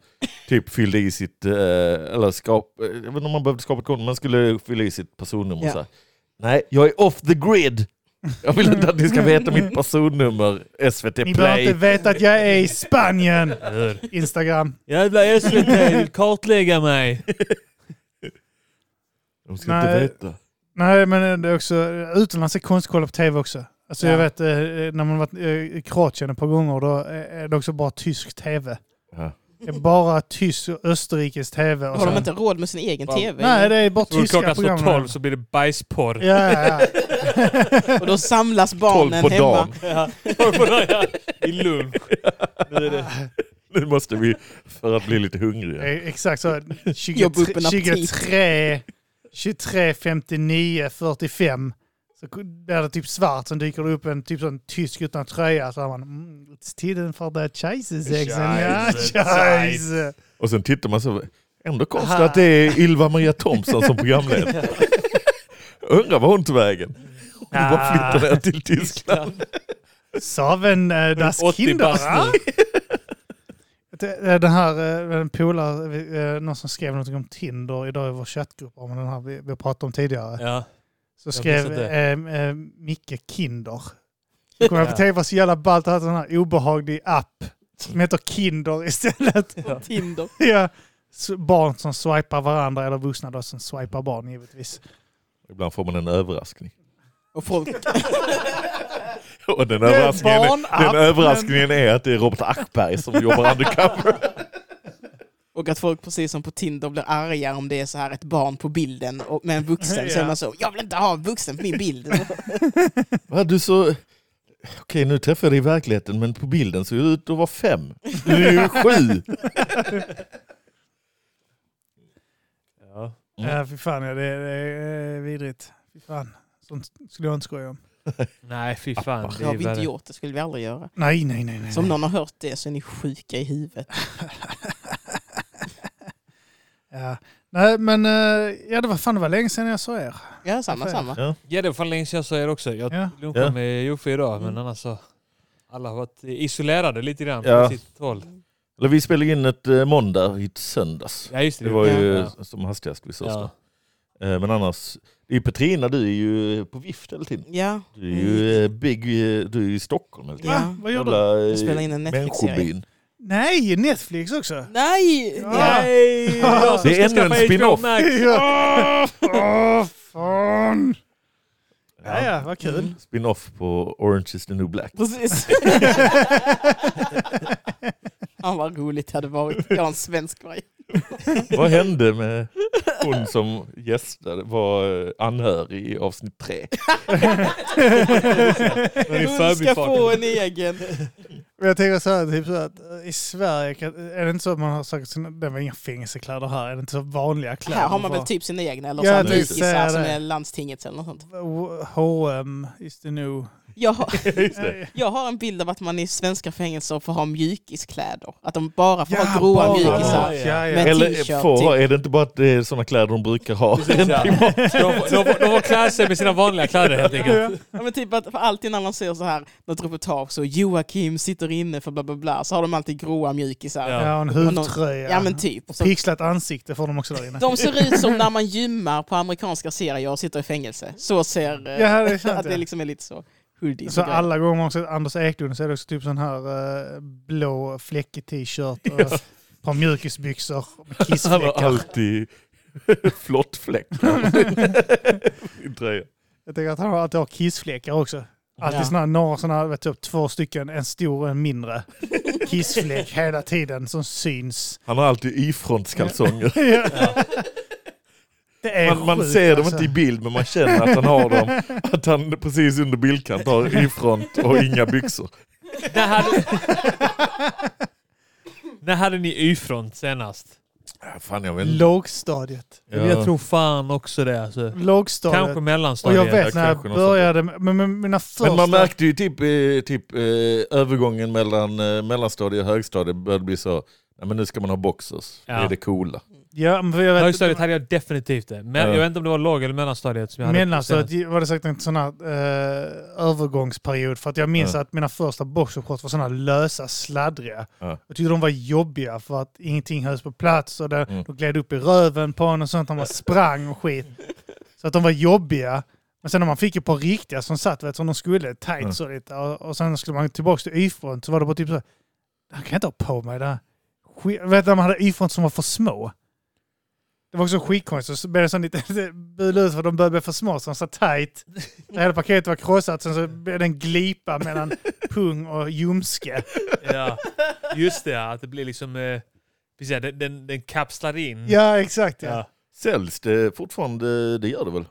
S1: typ fyllde i sitt, eh, eller skap, eh, jag vet inte om man behövde skapa ett konto, man skulle fylla i sitt personnummer.
S4: Ja.
S1: Så här. Nej, jag är off the grid! Jag vill inte att ni ska veta mitt personnummer, SVT
S3: Ni behöver
S1: Play.
S3: inte veta att jag är i Spanien! Instagram.
S2: Jävla SVT vill kartlägga mig.
S1: De ska inte
S3: Nej.
S1: veta.
S3: Nej, men det är också, utomlands är konstigt att kolla på tv också. Alltså jag
S4: Ja.
S3: vet eh, när man varit eh, i Kroatien ett par gånger, då är det också bara tysk tv.
S1: Ja.
S3: Det är bara tysk och österrikisk tv. Och
S4: Har de
S3: sen-
S4: inte råd med sin egen
S2: Wow.
S4: tv?
S3: Nej, det är bara
S2: Och
S3: tyska
S2: klockan slår
S3: program.
S2: 12 så blir det bajsporr.
S3: Ja, ja, ja.
S4: Och då samlas
S1: 12
S4: barnen
S1: på
S4: hemma.
S1: dagen.
S2: Ja. Ja. I lunch. Nu är det
S1: Nu måste vi, för att bli lite hungriga.
S3: Det är Eh, Exakt så. 23,
S4: Jobba upp en aptit.
S3: 23, 23 59, 45. Så där är det typ svart, sen dyker det upp en typ sån tysk utan tröja. Så har man mm, it's tiden för det Scheisse-sexen. Ja,
S2: Scheisse,
S3: scheisse.
S1: Och sen tittar man så, ändå konstigt
S3: Aha.
S1: att det är Ylva Maria Thomsson som programledare. Undrar vad hon tog vägen. Hon bara
S3: Ah.
S1: flyttade ner till Tyskland.
S3: Saven äh, das
S2: 80
S3: Kinder.
S2: bast
S3: ah?
S2: nu.
S3: Det- eh, Den här eh, en polare, eh, någon som skrev något om Tinder idag i vår chattgrupp, om den här vi, vi pratade om tidigare.
S2: Ja.
S3: Så
S2: Jag
S3: skrev
S2: missade
S3: eh, eh, Micke Kinder. Då kom jag på tv var så jävla ballt att ha en sån här obehaglig app som heter Kinder istället.
S2: Ja.
S4: Tinder.
S3: ja. S- Barn som swipar varandra eller vuxna då som swipar barn givetvis.
S1: Ibland får man en överraskning.
S4: Och folk...
S1: Och den,
S3: är en
S1: överraskningen, är,
S3: barnapp,
S1: den överraskningen är att det är Robert Aschberg som jobbar undercover.
S4: Och att folk precis som på Tinder blir arga om det är så här ett barn på bilden och med en vuxen. Så är
S3: Ja.
S4: man så, jag vill inte ha en vuxen på min bild.
S1: Va, du så... Okej, nu träffade jag dig i verkligheten, men på bilden ser du ut att vara fem. Du är ju sju.
S2: Ja.
S1: Mm.
S3: Ja, fy fan ja, det, det är vidrigt. Fy fan. Sånt skulle jag inte skoja om.
S2: Nej, fy fan.
S4: Det har vi inte gjort, det skulle vi aldrig göra.
S3: Nej, nej, nej. nej.
S4: Så om någon har hört det så är ni sjuka i huvudet.
S3: Ja. Nej, men eh, ja, det var fan det var länge sedan jag såg er.
S4: Ja, samma, samma.
S2: Ja, det var fan länge sedan jag sa er också. Jag
S3: Ja.
S2: lunchade
S1: Ja.
S2: med Joffe idag, men
S4: Mm.
S2: annars så... Alla har varit isolerade lite grann
S1: Ja.
S2: på sitt håll.
S1: Eller vi spelade in ett eh, måndag i ett söndags.
S2: Ja, just det.
S1: Det var ju
S2: Ja.
S1: som hastigast vi sågs
S2: Ja.
S1: då. Eh, Men annars, det är ju Petrina, du är ju på vift hela tiden.
S4: Ja.
S1: Du är ju eh, big, eh, du är ju i Stockholm hela tiden.
S3: Va? Vad gör du?
S1: Jävla, eh,
S4: Jag spelar in en Netflix-serie.
S1: Människobyn.
S3: Nej, Netflix också.
S4: Nej!
S3: Ja.
S4: nej.
S2: Nej! jag som
S1: Det är
S2: ska
S1: ännu en
S2: skaffa HBO
S1: spin-off.
S2: Max.
S3: Ja. Åh, fan! Ja,
S1: Ja.
S3: ja, vad kul.
S1: Mm. Spin-off på Orange is the new black.
S4: Precis. Fan vad roligt det hade varit. Jag har en svensk varje.
S1: Vad hände med hon som gästade, var eh, anhörig i avsnitt tre?
S2: är
S4: Hon ska
S2: förbifarten.
S4: få en egen.
S3: Men jag tänker så här, typ så här, att eh, i Sverige, kan- är det inte så att man har sagt sina, det var inga fängelsekläder här, är det inte så vanliga kläder?
S4: Här har man väl
S3: Bara
S4: typ sina egna eller
S3: Ja,
S4: ja,
S1: jag
S4: sådana
S1: tänkte
S4: rikisar
S3: säga
S4: som
S3: det.
S4: är landstingets eller något sånt.
S3: H&M is the new...
S4: Jag har,
S1: Just det.
S3: Eh,
S4: jag har en bild av att man i svenska fängelser får ha mjukiskläder. Att de bara får ha
S3: bara-
S4: gråa
S2: mjukisar.
S4: mjukisar.
S3: Ja, ja.
S4: Men-
S1: Eller eh,
S4: t-shirt,
S1: får, är det inte bara att det är sådana kläder de brukar ha?
S2: Precis, ja. De får- de får- de får klä sig med sina vanliga kläder helt enkelt.
S4: Ja, men typ att för alltid när man ser så här, något reportage så Joakim sitter inne för bla bla bla, så har de alltid gråa mjukisar. Ja,
S2: Ja.
S3: Ja, en huvtröja.
S4: men typ. Så
S3: Pixlat ansikte får de också där inne.
S4: de ser ut som när man gymmar på amerikanska serier och sitter i fängelse. Så ser eh,
S3: Ja, det är sant,
S4: att det
S3: ja.
S4: liksom är lite så hoodies.
S3: Så
S4: och grejer.
S3: alla gånger man sett Anders Eklund så är det också typ sån här eh, blå fläckig t-shirt och ett par mjukisbyxor med
S1: Han har
S3: kissfläckar.
S1: alltid flottfläck. I tröjan.
S3: Jag tänker att han alltid har kissfläckar också. Alltid
S4: Ja.
S3: såna här, några såna här, vet du, typ två stycken, en stor och en mindre. Kissfläck hela tiden som syns.
S1: Han har alltid Y-frontskalsonger.
S3: Det är
S1: Man, man
S3: sjukt,
S1: ser dem
S3: alltså.
S1: inte i bild men man känner att han har dem. Att han precis under bildkant har Y-front och inga byxor.
S2: När hade, när hade ni Y-front senast?
S1: Ja, Äh, Fan, jag vet inte.
S3: Lågstadiet.
S1: Ja.
S2: Jag tror fan också det. Alltså. Kanske
S3: Lågstadiet. Och
S2: mellanstadiet.
S3: jag vet
S1: Ja,
S3: när jag
S1: kanske något
S3: började med, med, med mina första...
S1: Men man märkte ju typ, eh, typ eh, övergången mellan eh, mellanstadie och högstadie började bli så, nej men nu ska man ha boxers,
S2: Ja.
S1: det är det coola.
S3: Ja, men jag vet,
S2: Högstadiet hade jag definitivt det. Men
S1: Ja.
S2: jag vet inte om det var låg eller mellanstadiet som jag hade.
S3: Mellanstadiet
S2: senast.
S3: var alltså, det säkert en sån här eh, övergångsperiod för att jag minns
S1: Ja.
S3: att mina första boxershorts var såna här lösa, sladdriga.
S1: Ja.
S3: Jag tyckte de var jobbiga för att ingenting hölls på plats och det,
S1: Mm.
S3: de gled upp i röven på en och sånt när man sprang och skit. Så att de var jobbiga. Men sen när man fick ett par riktiga som satt vet, som de skulle, tights och lite, och, och sen skulle man tillbaka till Y-front så var det bara typ så här, det här kan jag inte ha på mig. Det här. Skit, vet du, när man hade Y-front som var för små. Det var också skitkonstigt. Så blev det sån lite bul ut för att de började bli för små så de satt tight. Så hela paketet var krossat. Sen så blev det en glipa mellan pung och ljumske.
S2: Ja. Just det, ja, att det blir liksom... Eh, precis, ja, den, den, den kapslar in.
S3: Ja, exakt. Ja.
S2: Ja.
S1: Säljs det fortfarande, det gör det väl?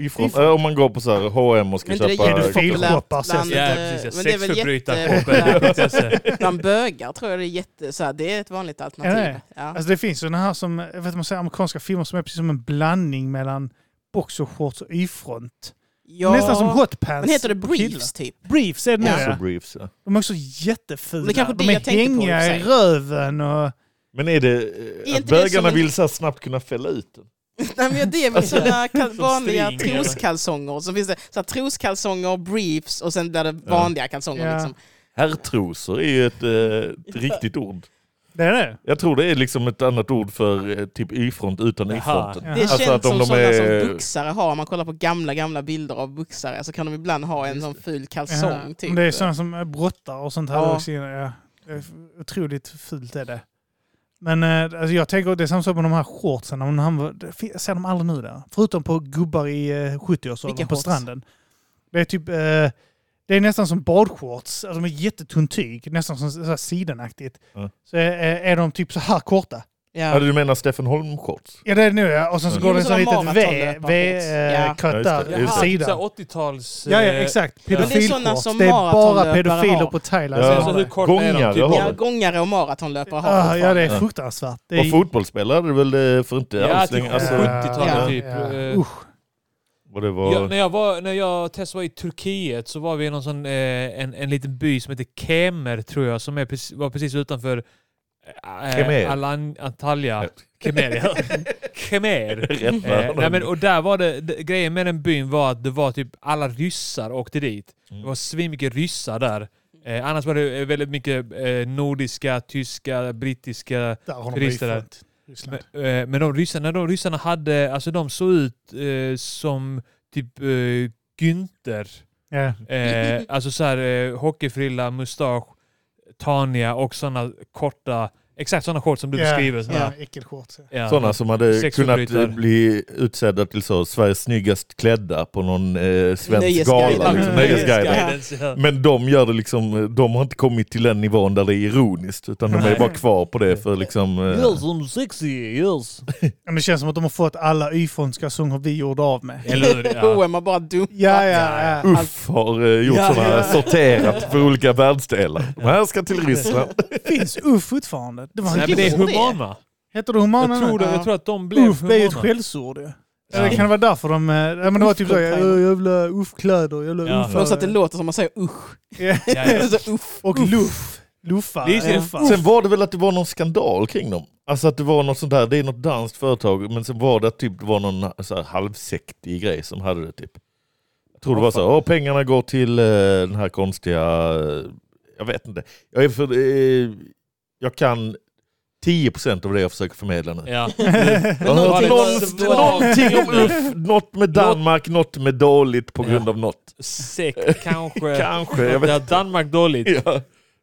S1: Ifrån,
S3: Ifrån-
S1: äh, om man går på så här H&M och ska
S4: Men inte det
S1: köpa...
S3: är
S4: jättepopulärt
S1: kalsonger.
S3: Pedofilshoppar,
S4: bland,
S3: säger
S2: Ja,
S4: eh,
S2: precis. Ja.
S4: men det är väl jättepopulärt
S2: Sexförbrytarpopper.se.
S4: bland bögar tror jag det är jätte, så här, det är ett vanligt
S3: Är
S4: alternativ.
S3: det?
S4: Ja.
S3: Alltså det finns sådana här som, jag vet inte, man säger amerikanska filmer som är precis som en blandning mellan boxershorts och y-front.
S4: Ja.
S3: Nästan som hotpants.
S4: Men heter det
S3: på killar.
S4: briefs typ?
S3: Briefs är det nu
S4: Ja.
S1: Också
S3: ja.
S1: briefs, ja.
S3: De är också jättefula.
S4: Det är kanske
S3: de
S4: det
S3: är
S4: jag tänkte på,
S3: hängiga
S4: i
S3: i
S4: och
S3: röven och...
S1: Men är det, eh,
S4: Är
S1: att
S4: inte det som
S1: bögarna
S4: en-
S1: vill så här snabbt kunna fälla ut den?
S4: Nej, men det är väl
S3: Alltså,
S4: sådana kal-
S2: som
S4: vanliga
S2: string, eller?
S4: troskalsonger. Så finns det så här, troskalsonger, briefs och sen blir det vanliga kalsonger.
S3: Ja.
S4: Liksom.
S1: Herrtrosor är ju ett, eh, ett riktigt ord.
S3: Det är det.
S1: Jag tror det är liksom ett annat ord för eh, typ Y-front utan
S2: Jaha.
S1: Y-fronten.
S4: Det
S3: Ja.
S1: Alltså
S4: känns
S1: att om
S4: som
S1: de
S4: sådana
S1: är-
S4: som boxare har. Om man kollar på gamla, gamla bilder av boxare så kan de ibland ha en sån ful kalsong.
S3: Ja.
S4: Typ.
S3: Men Det är sådana som är brottar och sånt här
S4: Ja.
S3: också. inne, Ja. Det är otroligt fult är det. Men eh, alltså, jag tänker, det är samma sak med de här shortsen. Om han var- det fin- Jag ser dem aldrig nu där. Förutom på gubbar i eh, 70-årsåldern
S4: Vilka
S3: på
S4: shorts?
S3: stranden. Det är typ... Eh, det är nästan som badshorts. Alltså, de är jättetunn tyg. Nästan som så här sidenaktigt.
S1: Ja.
S3: Så är, är de typ så här korta.
S1: Ja,
S4: Ja.
S1: du menar Steffen Holm-shorts?
S3: Ja det är det nu ja. Och sen så
S1: Mm.
S3: går det
S4: Jo,
S3: en sån
S4: men sådana
S3: liten V-
S4: maratonlöparshorts. Ja.
S1: Ja,
S3: V-cut
S1: just det,
S3: där på
S1: just
S2: Jaha,
S1: det.
S3: sidan.
S2: så här 80-tals...
S3: Ja, ja,
S2: eh,
S3: exakt.
S2: Men det är
S3: Pedofilshorts. Det
S4: sådana
S3: är,
S4: som
S3: bara
S4: maratonlöpare har.
S3: pedofiler på Thailand.
S1: Ja.
S2: Sen så Alltså, hur korta är de?
S1: Gångare
S2: Typ
S1: har
S4: Ja,
S1: väl?
S4: gångare och maratonlöpare har
S3: Ah, ja,
S4: fortfarande.
S3: det
S1: Ja.
S3: är fruktansvärt. Det
S1: Och
S3: är...
S1: fotbollsspelare är det väl eh, för inte
S2: Ja,
S1: alls
S2: typ
S1: länge... Alltså,
S2: Ja. 70-talet
S3: Ja,
S2: typ. Eh,
S3: Usch.
S1: vad det var...
S2: Ja, när jag, var, när jag och Tess var i Turkiet så var vi i någon sån, eh, en, en liten by som heter Kemer tror jag, som är precis, var precis utanför
S1: Kemer.
S2: eh, Alan, Antalya.
S1: Rätt.
S2: Kemer, ja. Kemer.
S1: Rätt
S2: Eh,
S1: eh,
S2: nej, men, och där var det, det, Mm. grejen med den byn var att det var typ alla ryssar åkte dit. Det var svinmycket ryssar där. Eh, annars var det eh, väldigt mycket eh, nordiska, tyska, brittiska.
S3: Där har de
S2: Turister där.
S3: rifat Ryssland.
S2: Men, eh, men de ryssarna, de ryssarna hade, alltså de såg ut eh, som typ eh, Günther.
S3: Ja.
S2: Eh, alltså så här eh, hockeyfrilla, mustasch, tania och sådana korta, exakt sådana shorts som du
S3: Ja,
S2: beskriver.
S3: Ja,
S2: såna-
S3: äckelshorts. ja.
S2: ja.
S1: Sådana som hade kunnat
S2: Sexförbrytare.
S1: eh, bli utsedda till så, Sveriges snyggast klädda på någon eh, svensk
S4: Nöjesguiden.
S1: gala. Liksom,
S4: Mm.
S1: nöjesguiden.
S4: Nöjesguiden.
S2: Ja.
S1: Men de gör det liksom, de har inte kommit till den nivån där det är ironiskt utan de är
S2: Nej.
S1: bara kvar på det för liksom... eh,
S2: som sexy, yes.
S3: Men det känns som att de har fått alla yfonska sånger vi gjorde av med.
S2: Eller hur? Ja.
S4: H&M har bara dumt.
S3: Ja, ja, ja.
S1: Uff har eh, gjort
S3: Ja.
S1: sådana,
S3: Ja.
S1: sorterat för olika världsdelar. De här ska till Ryssland.
S3: Finns Uff fortfarande? Det var
S2: Nej, men det är
S4: Tror det.
S2: humana.
S3: Heter det humana
S2: Jag tror, det,
S3: nu?
S2: jag tror att de blev
S3: Uff, det är ju ett
S2: humana.
S3: skällsord ju.
S2: Ja.
S3: Eller kan det vara därför de... eh, Ja, men det var typ så, ja, jävla uff-kläder, jävla
S2: Ja.
S3: uff
S4: För så att det låter som man säger usch.
S3: Ja.
S2: Ja, ja.
S4: Alltså, uff.
S3: Och luff. Luffa.
S2: Det är ju-
S3: luffa.
S1: Sen var det väl att det var någon skandal kring dem. Alltså att det var något sånt där, det är något danskt företag, men sen var det att typ, det var någon så här halvsektig grej som hade det typ. Jag tror det var så, här, "Åh, pengarna går till eh, den här konstiga, eh, jag vet inte. Jag, är för, eh, jag kan 10% av det jag försöker förmedla nu.
S2: Ja.
S1: Jag har hört
S2: det var-
S1: någon-
S2: det var-
S1: någonting om UF, något med Danmark, något med dåligt på grund av något.
S2: Säck kanske.
S1: Kanske, jag vet
S2: Ja, Danmark dåligt.
S1: Ja.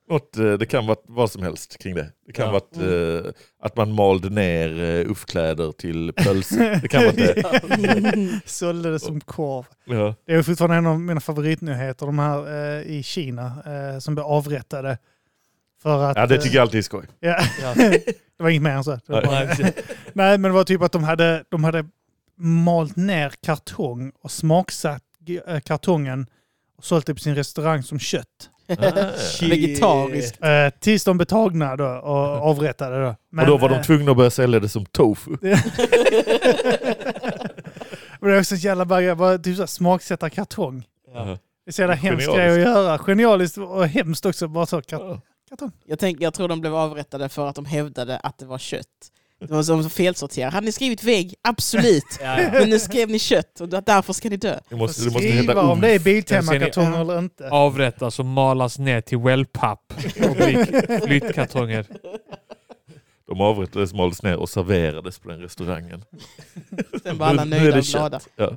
S1: Något, eh, det kan vara vad som helst kring det. Det kan
S2: Ja.
S1: vara att,
S3: Mm.
S1: eh, att man malde ner eh, uffkläder till pölse. Det kan vara det.
S3: Sålde det som korv.
S1: Ja.
S3: Det är fortfarande en av mina favoritnyheter, de här eh, i Kina eh, som blev avrättade. För att...
S1: ja, det tycker jag alltid är skoj.
S3: eh, ja,
S2: Ja.
S3: det var inget mer än så. Det var
S1: Nej.
S3: bara- Nej, men det var typ att de hade, de hade malt ner kartong och smaksatt g- eh, kartongen och sålt det på sin restaurang som kött.
S1: Ah.
S4: Vegetariskt.
S3: Eh, tills de blev tagna då och avrättade då. Men,
S1: Mm. Och då var
S3: eh,
S1: de tvungna att börja sälja det som tofu.
S3: men det är också en jävla berg, bara typ så här, smaksätta kartong.
S1: Ja.
S3: Det är så jävla hemskt
S1: Genialiskt.
S3: grej att göra. Genialiskt och hemskt också. Bara så, kart- kartong.
S4: Jag, tänk, jag tror de blev avrättade för att de hävdade att det var kött. Det var som felsorterade. Hade ni skrivit vägg? Absolut.
S2: Ja, ja.
S4: Men nu skrev ni kött och därför ska ni dö.
S1: Det måste, det måste
S3: Skriva
S1: heta
S3: om
S1: uff.
S3: det är
S2: Sen ser
S3: Biltema-kartonger
S2: ni-
S3: eller inte.
S2: Avrättas och malas ner till wellpapp och blir flyttkartonger.
S1: De avrättades, maldes ner och serverades på den restaurangen.
S4: Sen var alla
S1: Nu- nu är
S4: nöjda
S1: det
S4: och glada.
S1: Ja.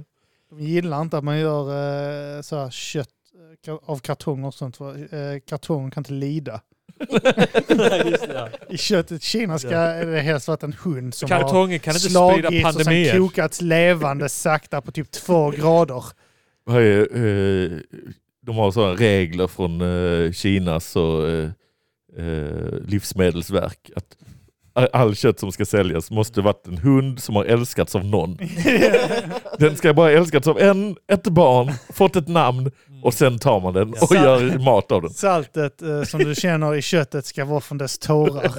S3: De gillar inte att man gör eh, så här kött eh, ka- av kartong och sånt. För, eh, kartong kan inte lida. I köttet Kina ska
S2: Ja.
S3: är det helst varit en hund som har
S2: Kartonger kan inte sprida
S3: slagits och sen
S2: pandemier.
S3: kokats levande sakta på typ två grader.
S1: Vad är, eh, de har sådana regler från eh, Kinas och eh, eh, livsmedelsverk att a- all kött som ska säljas måste varit en hund som har älskats av någon. Den ska bara älskats av en, ett barn, fått ett namn
S2: Mm.
S1: och sen tar man den och
S3: Ja.
S1: gör mat av den.
S3: Saltet eh, som du känner i köttet ska vara från dess tårar.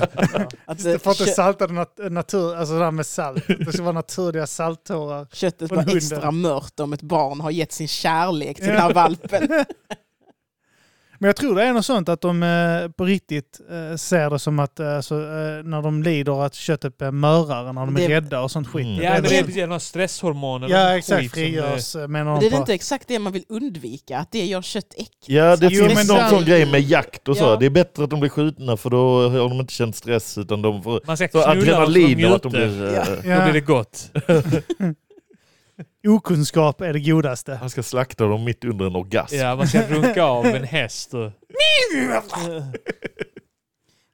S4: Att,
S3: Du
S4: eh,
S3: får inte
S4: kö-
S3: salta det nat- natur, alltså det här med salt. Det ska vara naturliga salttårar.
S4: köttet
S3: på
S4: var
S3: hunden.
S4: extra mört om ett barn har gett sin kärlek till den här valpen.
S3: Men jag tror det är något sånt att de eh, på riktigt eh, ser det som att eh, så, eh, när de lider att köttet blir mörare när de är
S4: Det-
S3: rädda och sånt skit.
S1: Mm.
S2: Ja, men det är
S3: något sånt.
S2: de här stresshormonerna. och
S3: ja
S2: skit
S3: exakt,
S2: som, eh,
S3: frigörs eh, menar
S4: Men
S3: de
S4: det är
S3: på.
S4: inte exakt det man vill undvika, att det gör kött äckligt.
S1: Ja, det
S4: Att
S3: Jo,
S1: finns
S3: men
S1: någon
S3: de-
S1: sån grej med jakt och så.
S4: Ja.
S1: Det är bättre att de blir skjutna för då har de inte känt stress utan de får
S2: Man ska
S1: så
S2: knulla
S1: adrenalin och att de
S2: njuter.
S1: blir...
S4: Ja.
S1: eh,
S2: Då
S3: Ja.
S2: blir det gott.
S3: Okunskap är det godaste.
S1: Han ska slakta dem mitt under en orgasm.
S2: Ja, man ska runka av en häst. Och...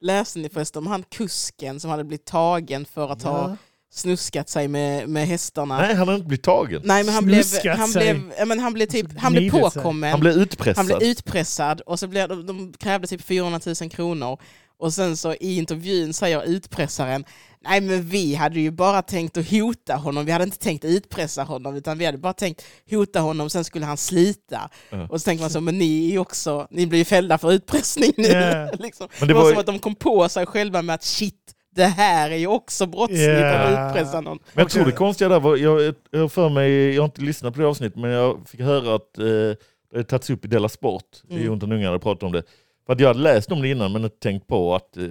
S4: Läste ni förresten om han kusken som hade blivit tagen för att ha snuskat sig med, med hästarna?
S1: Nej, han har inte blivit tagen.
S4: Nej, men han blev,
S3: Snuskat
S4: han
S3: sig.
S4: blev, ja, men han blev, typ,
S3: Alltså,
S4: han blev
S3: gnidit sig.
S4: påkommen,
S1: Han blev utpressad.
S4: han blev utpressad och så blev, de, de krävde typ 400 000 kronor. Och sen så i intervjun säger utpressaren, nej men vi hade ju bara tänkt att hota honom, vi hade inte tänkt utpressa honom utan vi hade bara tänkt hota honom, sen skulle han slita.
S1: Ja.
S4: Och så tänker man så, men ni är ju också, ni blir ju fällda för utpressning nu.
S3: Ja.
S4: liksom.
S1: Men det
S4: Det var,
S1: var-
S4: som att de kom på sig själva med att shit, det här är ju också brottsligt
S3: Ja.
S4: att utpressa någon.
S1: Men jag tror det konstiga där var, jag, jag har för mig, jag har inte lyssnat på det avsnittet, men jag fick höra att eh, det hade tagits upp i Della Sport,
S4: Mm.
S1: mm. Jontan Unga hade pratat om det. För att jag hade läst om det innan men inte tänkt på att, eh,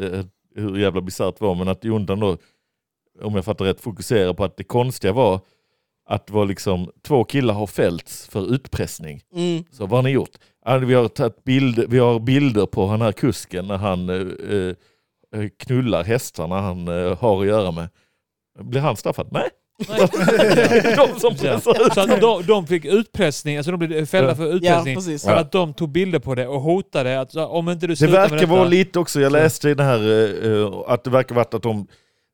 S1: hur jävla bisarrt det var, men att Jontan då, om jag fattar rätt, fokuserar på att det konstiga var att var liksom, två killar har fällts för utpressning.
S4: Mm.
S1: Så vad har ni gjort? Ja, Vi har, tagit bild, vi har bilder på han här kusken när han eh, eh, knullar hästarna han eh, har att göra med. Blir han straffad? Nej.
S2: Nej.
S1: De som pressar ut.
S2: Så att de, de fick utpressning, alltså de blev fällda för
S4: Ja,
S2: utpressning.
S4: precis.
S2: För att de tog bilder på det och hotade att så, om inte du
S1: Det
S2: slutar med
S1: verkar
S2: detta-
S1: vara lite också, jag läste i det här eh, eh, att det verkar vara att de,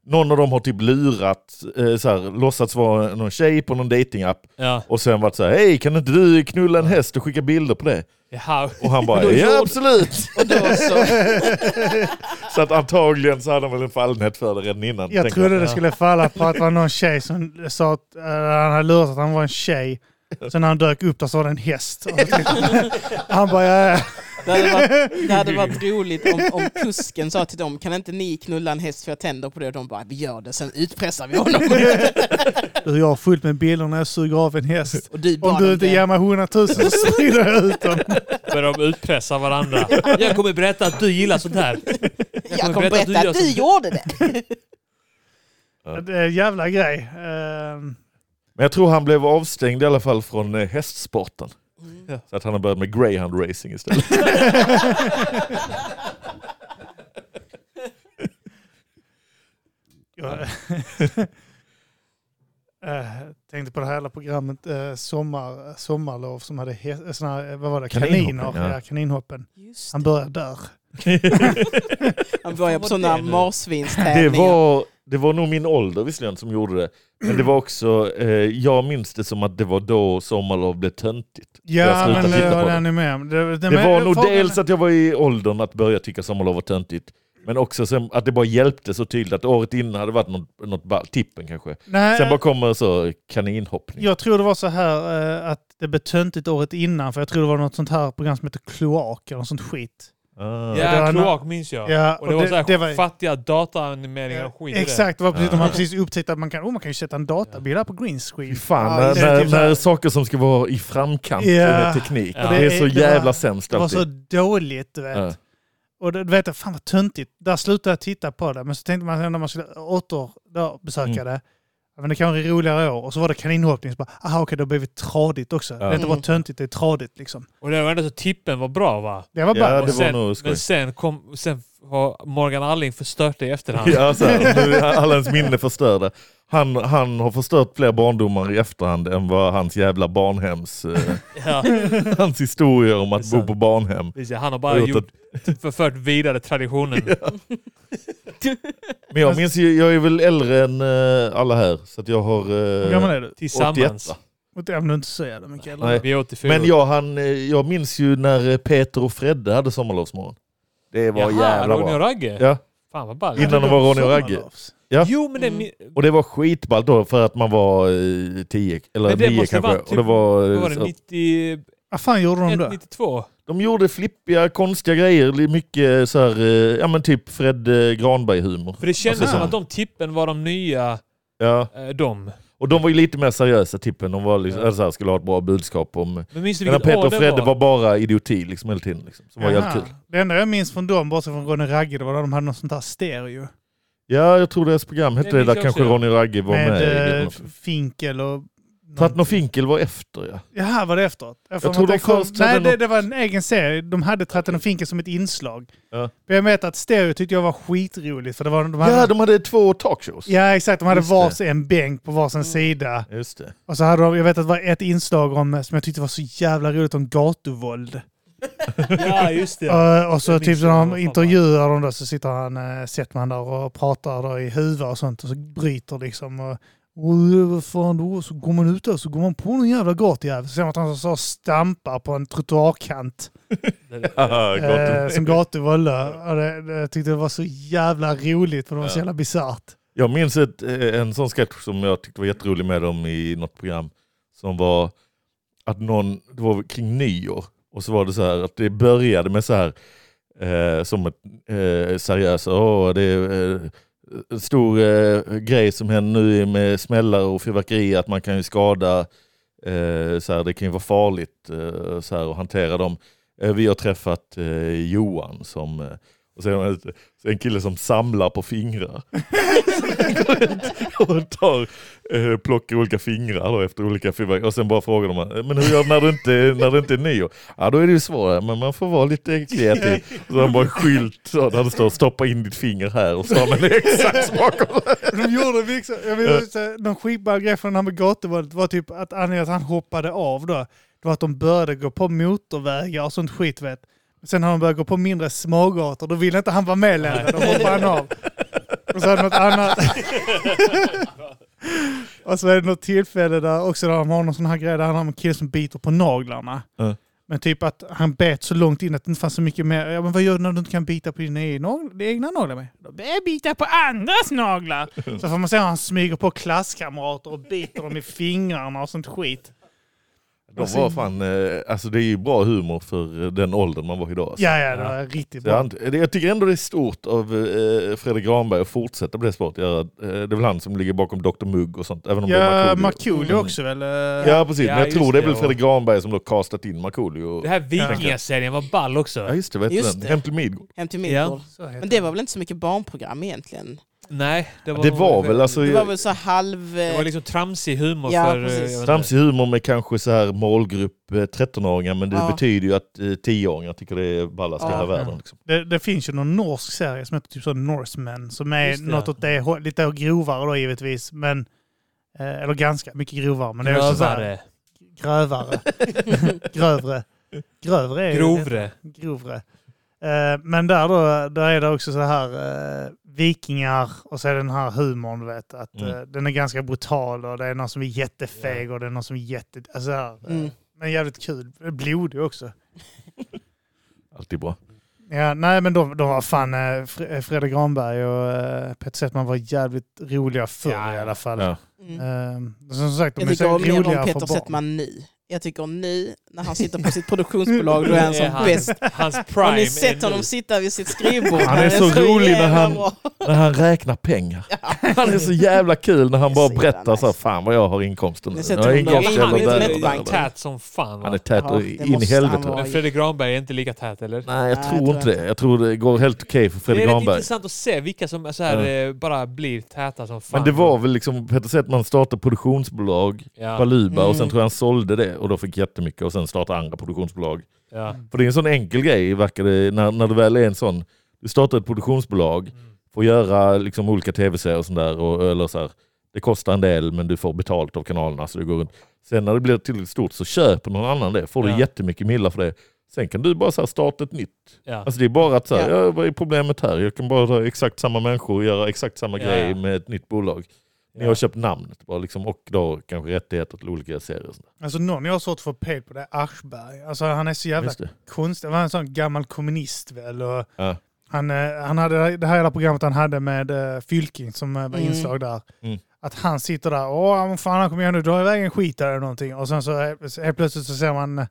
S1: någon av dem har typ lurat, eh, så här, låtsats vara någon tjej på någon datingapp
S2: Ja.
S1: och sen varit så här, hej kan inte du knulla en häst och skicka bilder på det?
S2: Jaha.
S1: Och han bara,
S4: Då
S1: ja
S4: gjorde-
S1: absolut!
S4: Och då så,
S1: Så att antagligen så hade han väl en fallenhet för det redan innan.
S3: Jag
S1: tänker
S3: trodde det
S2: Ja.
S3: skulle falla på att det var någon tjej som sa att eh, han hade lurat att han var en tjej. Sen när han dök upp där så var det en häst. Och jag tänkte- han bara, ja,
S4: det, hade varit, det hade varit roligt om, om kusken sa till dem, kan inte ni knulla en häst för jag tänder på det? Och de bara, vi gör det, sen utpressar vi honom.
S3: du jag har fullt med bilder när jag suger av en häst.
S4: Och du bara,
S3: Om du inte ger mig hundratusen så sprider jag ut dem.
S2: Börjar de utpressa varandra. Jag kommer berätta att du gillar sånt här.
S4: jag kommer berätta att du gjorde det.
S1: jag.
S3: Det är en jävla grej. Ehm,
S1: Men jag tror han blev avstängd i alla fall från eh, hästsporten. Så att han har börjat med greyhound racing istället.
S3: Jag eh, tänkte på det här jävla programmet eh, sommar, Sommarlov som hade he- såna här, eh, vad var det?
S1: Kaninhoppen,
S3: kaniner.
S1: ja.
S3: Ja. kaninhoppen. Han började där.
S4: Han börjar
S2: Vad var
S4: på sådana
S2: det nu?
S1: Det
S4: marsvinstävlingar.
S1: var, det var nog min ålder visserligen som gjorde det. Men det var också, eh, jag minns det som att det var då Sommarlov blev töntigt. Jag
S3: Ja,
S1: slutar
S3: men
S1: titta
S3: det
S1: på
S3: var
S1: det.
S3: den är med om. Det,
S1: det var nog
S3: frågan-
S1: dels att jag var i åldern att börja tycka Sommarlov var töntigt. Men också sen, att det bara hjälpte så tydligt att året innan hade varit något, något ball, tippen kanske.
S3: Nej,
S1: Sen bara kommer så kaninhoppning.
S3: Jag tror det var så här eh, att det blev töntigt året innan, för jag tror det var något sånt här program som heter Kloak eller något sånt skit.
S1: Ah.
S3: det
S2: Ja,
S3: var-
S2: kloak minns jag.
S3: Ja,
S2: och det
S3: och
S2: var
S3: det-
S2: så här
S3: det var-
S2: fattiga dataanimeringar och skit i det.
S3: Exakt, det var precis,
S1: Ja.
S3: de hade precis upptäckt att man kan, oh, man kan ju sätta en databild här på green
S1: Fy
S3: screen.
S1: fan,
S3: Ja,
S1: när,
S3: det är
S1: när,
S3: typ så här-
S1: när saker som ska vara i framkant
S3: Ja.
S1: med teknik.
S2: Ja.
S1: Det är
S3: Det-
S1: så
S3: det var-
S1: jävla sämst
S3: Det var
S1: alltid.
S3: så dåligt, du vet.
S1: Ja.
S3: Och det- du vet, fan vad töntigt. Där slutade jag titta på det, men så tänkte man sen när man skulle återbesöka
S1: Mm.
S3: det, ja, men det kan vara roligare år. Och så var det kaninhoppning, så bara, aha okej, det har blivit tradigt också. Det är inte bara
S4: Mm.
S3: töntigt, det är tradigt liksom.
S2: Och det var ändå så tippen var bra va?
S3: Det var
S1: Ja,
S3: bara
S1: det
S2: sen,
S1: var nog skoj.
S2: Men sen, kom, sen har Morgan Alling förstört det i efterhand.
S1: Ja, så här, nu är alla ens minne förstörda. Han, han har förstört fler barndomar i efterhand än vad hans jävla barnhems... Eh,
S2: Ja.
S1: hans historier om
S2: Det
S1: att
S2: är
S1: bo
S2: sant.
S1: på barnhem.
S2: Precis, Han har
S1: Har
S2: bara
S1: gjort
S2: gjort, förfört vidare traditionen.
S1: Men jag minns ju, jag är väl äldre än eh, alla här. Så att jag har...
S3: Hur
S1: Eh,
S3: gammal är du? Typ-
S2: Tillsammans.
S1: 81.
S3: Och Jag vill inte säga det, Mikael.
S1: Nej.
S2: Vi är 84.
S1: Men jag, han, eh, jag minns ju när eh, Peter och Fredde hade sommarlovsmorgon. Det var jävla
S2: Ronny och
S1: bra.
S2: Ragge?
S1: Ja.
S2: Fan vad ball.
S1: Innan det var Ronny och Ragge.
S3: Sommarlovs.
S1: Ja.
S2: Jo men det...
S4: Mm.
S1: Och det var skitballt då för att man var eh, 10 eller
S2: Men det
S1: 9
S2: måste
S1: kanske.
S2: vara typ-
S1: och det var,
S2: Vad
S1: eh,
S2: var
S1: så
S2: det?
S1: att-
S2: 90,
S3: Vad fan gjorde de då?
S2: 92?
S1: De gjorde flippiga, konstiga grejer. li- Mycket så här, eh, ja men typ Fred eh, Granberg-humor.
S2: För det kändes
S1: Alltså,
S2: som
S1: så.
S2: att de tippen var de nya,
S1: Ja.
S2: eh, de.
S1: Och de var ju lite mer seriösa tippen. De var liksom,
S2: Ja.
S1: alltså, här, skulle ha ett bra budskap om...
S2: Men minns du
S1: Men
S2: vilket
S1: Peter
S2: år
S1: och
S2: det
S1: Fredde
S2: var?
S1: var. bara idioti liksom hela tiden. Liksom, som var
S3: Jaha.
S1: jävligt kul.
S3: Det enda jag minns från dem, bortsett från Ronny Ragge, det var när de hade något sånt där stereo.
S1: Ja, jag tror deras program hette
S2: Det
S1: det,
S2: minns
S1: där
S2: jag
S1: kanske
S2: också, ja.
S1: Ronny Ragge var med.
S3: med
S1: med
S3: eh, Finkel och...
S1: Tatn och Finkel var efter ja.
S3: Jaha, var det efteråt? Jag, får
S1: Jag tror
S3: inte
S1: de
S3: kom-
S1: först hade
S3: Nej, det,
S1: något-
S3: det var en egen serie. De hade Tratten och Finkel som ett inslag.
S1: Ja.
S3: Men jag vet att stereo tyckte jag var skitroligt, för det var... De hade...
S1: Ja, de hade två talkshows.
S3: Ja, exakt. De hade
S1: Just det. Mm.
S3: varsin en bänk på varsin sida.
S1: Just det.
S3: Och så hade de, jag vet att det var ett inslag om, som jag tyckte var så jävla roligt om gatuvåld.
S2: Ja just det.
S3: Och, och så
S2: Jag
S3: typ
S2: minns
S3: när
S2: det, vad
S3: de
S2: fan
S3: intervjuar dem då så sitter han, eh, Settman där och pratar då i huvudet och sånt och så bryter liksom. Och, och vad fan då? Så går man ut där så går man på någon jävla gatujävel. Så ser man att han så- så stampar på en trottoarkant.
S1: Haha, gott.
S3: Eh, som gatuvåld då. Och det, det, jag tyckte det var så jävla roligt för det var så
S1: Ja.
S3: jävla bisarrt.
S1: Jag minns ett, eh, en sån sketch som jag tyckte var jätterolig med dem i något program. Som var att någon, det var kring nyår. Och så var det så här att det började med så här eh, som ett eh, seriöst, åh det är eh, en stor eh, grej som händer nu med smällare och fyrverkerier att man kan ju skada, eh, så här, det kan ju vara farligt eh, så här, att hantera dem. Eh, vi har träffat eh, Johan som eh, Och så är de ute. Så är det en kille som samlar på fingrar. Så han går runt och tar, eh, plockar olika fingrar då, efter olika fyrverkerier. Och sen bara frågar de "Eh, men hur gör du när du inte, när du inte är nyår? Ja då är det ju svårare men man får vara lite kreativ. Så han bara en skylt så, där det står stoppa in ditt finger här och så har man exakt bakom.
S3: De gjorde liksom, jag vet inte, någon skitball grej från det här med gatuvåldet var typ att anledningen till att han hoppade av då, det var att de började gå på motorvägar och sånt skit vet. Sen har de börjat gå på mindre smågator, då ville inte han vara med längre, då hoppade han av. Och så hade något annat. och så är det något tillfälle där också där de har någon sån här grej där han har en kille som biter på naglarna.
S1: Ja.
S3: Men typ att han bet så långt in att det inte fanns så mycket mer. Ja men vad gör du när du inte kan bita på dina egna, nagl- egna naglar med? Då börjar jag bita på andras naglar. Så får man se hur han smyger på klasskamrater och biter dem i fingrarna och sånt skit.
S1: De var fan, eh, alltså det är ju bra humor för eh, den åldern man var idag. Alltså.
S3: Ja, ja, det var riktigt
S1: Så jag,
S3: bra.
S1: ant- det- jag tycker ändå det är stort av eh, Fredrik Granberg att fortsätta på det spåret. Göra, eh, det är väl han som ligger bakom Dr Mugg och sånt. Även om det
S3: Ja,
S1: är Markoolio. Mm.
S3: Markoolio också väl? eh,
S1: Ja precis,
S2: Ja,
S1: men jag
S2: just
S1: tror det är
S2: det,
S1: väl
S2: och-
S1: Fredrik Granberg som då castat in Markoolio.
S2: Det här vikingaserien var ball
S1: Ja
S2: också.
S1: just det, vet
S4: Just
S1: du
S4: det.
S1: den? Hem till Midgård.
S4: Hem till
S2: Ja.
S4: Midgård.
S3: så heter
S4: Men det var väl inte så mycket barnprogram egentligen?
S2: Nej, det var...
S1: Det var väl alltså...
S4: Det var väl så halv...
S2: Det var liksom tramsig humor
S4: Ja,
S2: för... eh,
S4: precis.
S2: jag vet inte.
S1: Tramsig humor med kanske så här målgrupp eh, 13-åringar men det
S4: Ja.
S1: betyder ju att eh, 10-åringar tycker det är ballast i
S4: Ja.
S1: hela världen. Liksom.
S3: Det, det finns ju någon norsk serie som heter typ så Norsemen som är
S2: Just det.
S3: något åt det hå- lite grovare då givetvis. Men, eh, eller ganska mycket grovare. Men det är också så här,
S2: Grövare.
S3: grövare. grövre. Grövre är ju-
S2: Grovre.
S3: Grovre. Eh, men där då, där är det också så här eh, vikingar och så är det den här humorn du vet. Att,
S1: Mm.
S3: eh, den är ganska brutal och det är någon som är jättefeg och det är någon som är jätte... Alltså, så här, eh,
S4: Mm.
S3: Men jävligt kul. Blodig också.
S1: Alltid bra.
S3: Ja, nej men de, de var fan, eh, Fre- eh, Fredrik Granberg och eh, Peter Settman var jävligt roliga förr
S2: Ja,
S3: i
S2: ja.
S3: alla fall.
S1: Ja.
S4: Mm.
S3: Ehm, som sagt, de
S4: Jag
S3: är så
S4: tycker mer
S3: roliga
S4: om
S3: för
S4: Peter
S3: barn.
S4: Settman nu. Jag tycker nu, när han sitter på sitt produktionsbolag, då är han
S2: Det är
S4: som
S2: han.
S4: bäst.
S2: Hans prime
S4: Har ni
S2: är
S4: sett
S2: nu.
S4: honom sitta vid sitt skrivbord?
S1: Han är så rolig när
S4: jävla
S1: han-
S4: bra.
S1: När han räknar pengar. Han är så jävla kul när han
S4: Det är
S1: bara
S4: så jävla
S1: berättar så här,
S4: nice.
S1: fan vad jag har inkomster nu.
S4: Nu sätter
S1: Jag har
S4: hon dem i
S1: inkomster
S2: Han
S1: jävla
S4: internet-
S1: där och
S2: är
S1: där och
S2: tät-
S4: internetbank.
S1: där.
S2: tät som fan
S1: Han är
S2: va?
S1: tät
S4: Ja,
S1: och
S4: det
S1: in i
S4: måste
S1: helvete.
S4: han vara.
S2: Men Fredrik Granberg är inte lika tät eller?
S1: Nej, jag tror
S4: Nej, jag tror
S1: inte det. Jag tror det går helt okej för
S2: Det
S1: Fredrik
S2: är rätt
S1: Granberg.
S2: intressant att se vilka som så här,
S1: Ja.
S2: eh, bara blir täta som fan.
S1: Men det var väl liksom, Peter Settman startade produktionsbolag,
S2: Ja,
S1: Valuba, och sen
S4: Mm.
S1: tror jag han sålde det och då fick jättemycket och sen startade andra produktionsbolag.
S2: ja.
S1: För det är en sån enkel grej, verkar det, när, när du väl är en sån, du startar ett produktionsbolag,
S2: Mm.
S1: får göra liksom olika tv-serier och sånt där, och, eller så här, det kostar en del men du får betalt av kanalerna så det går runt. Sen när det blir tillräckligt stort så köper någon annan det, får
S2: Ja.
S1: du jättemycket millar för det. Sen kan du bara så här starta ett nytt.
S2: Ja.
S1: Alltså det är bara att så här,
S4: Ja.
S1: ja. vad är problemet här? Jag kan bara ta exakt samma människor och göra exakt samma
S2: Ja.
S1: grej med ett nytt bolag. Ni
S2: Ja.
S1: har köpt namnet bara liksom, och då kanske rättigheter till olika serier. Och sånt.
S3: Alltså någon jag har svårt att få pejl på det är Aschberg. Alltså han är så jävla
S1: Just det.
S3: konstig. Han var en sån gammal kommunist väl. Och
S1: Ja.
S3: han, eh, han hade det här hela programmet han hade med uh, Fylking som eh, var
S4: Mm.
S3: inslag där.
S1: Mm.
S3: Att han sitter där åh men fan han kommer igen nu dra iväg en skit där eller någonting. Och sen så eh, helt plötsligt så ser man eh,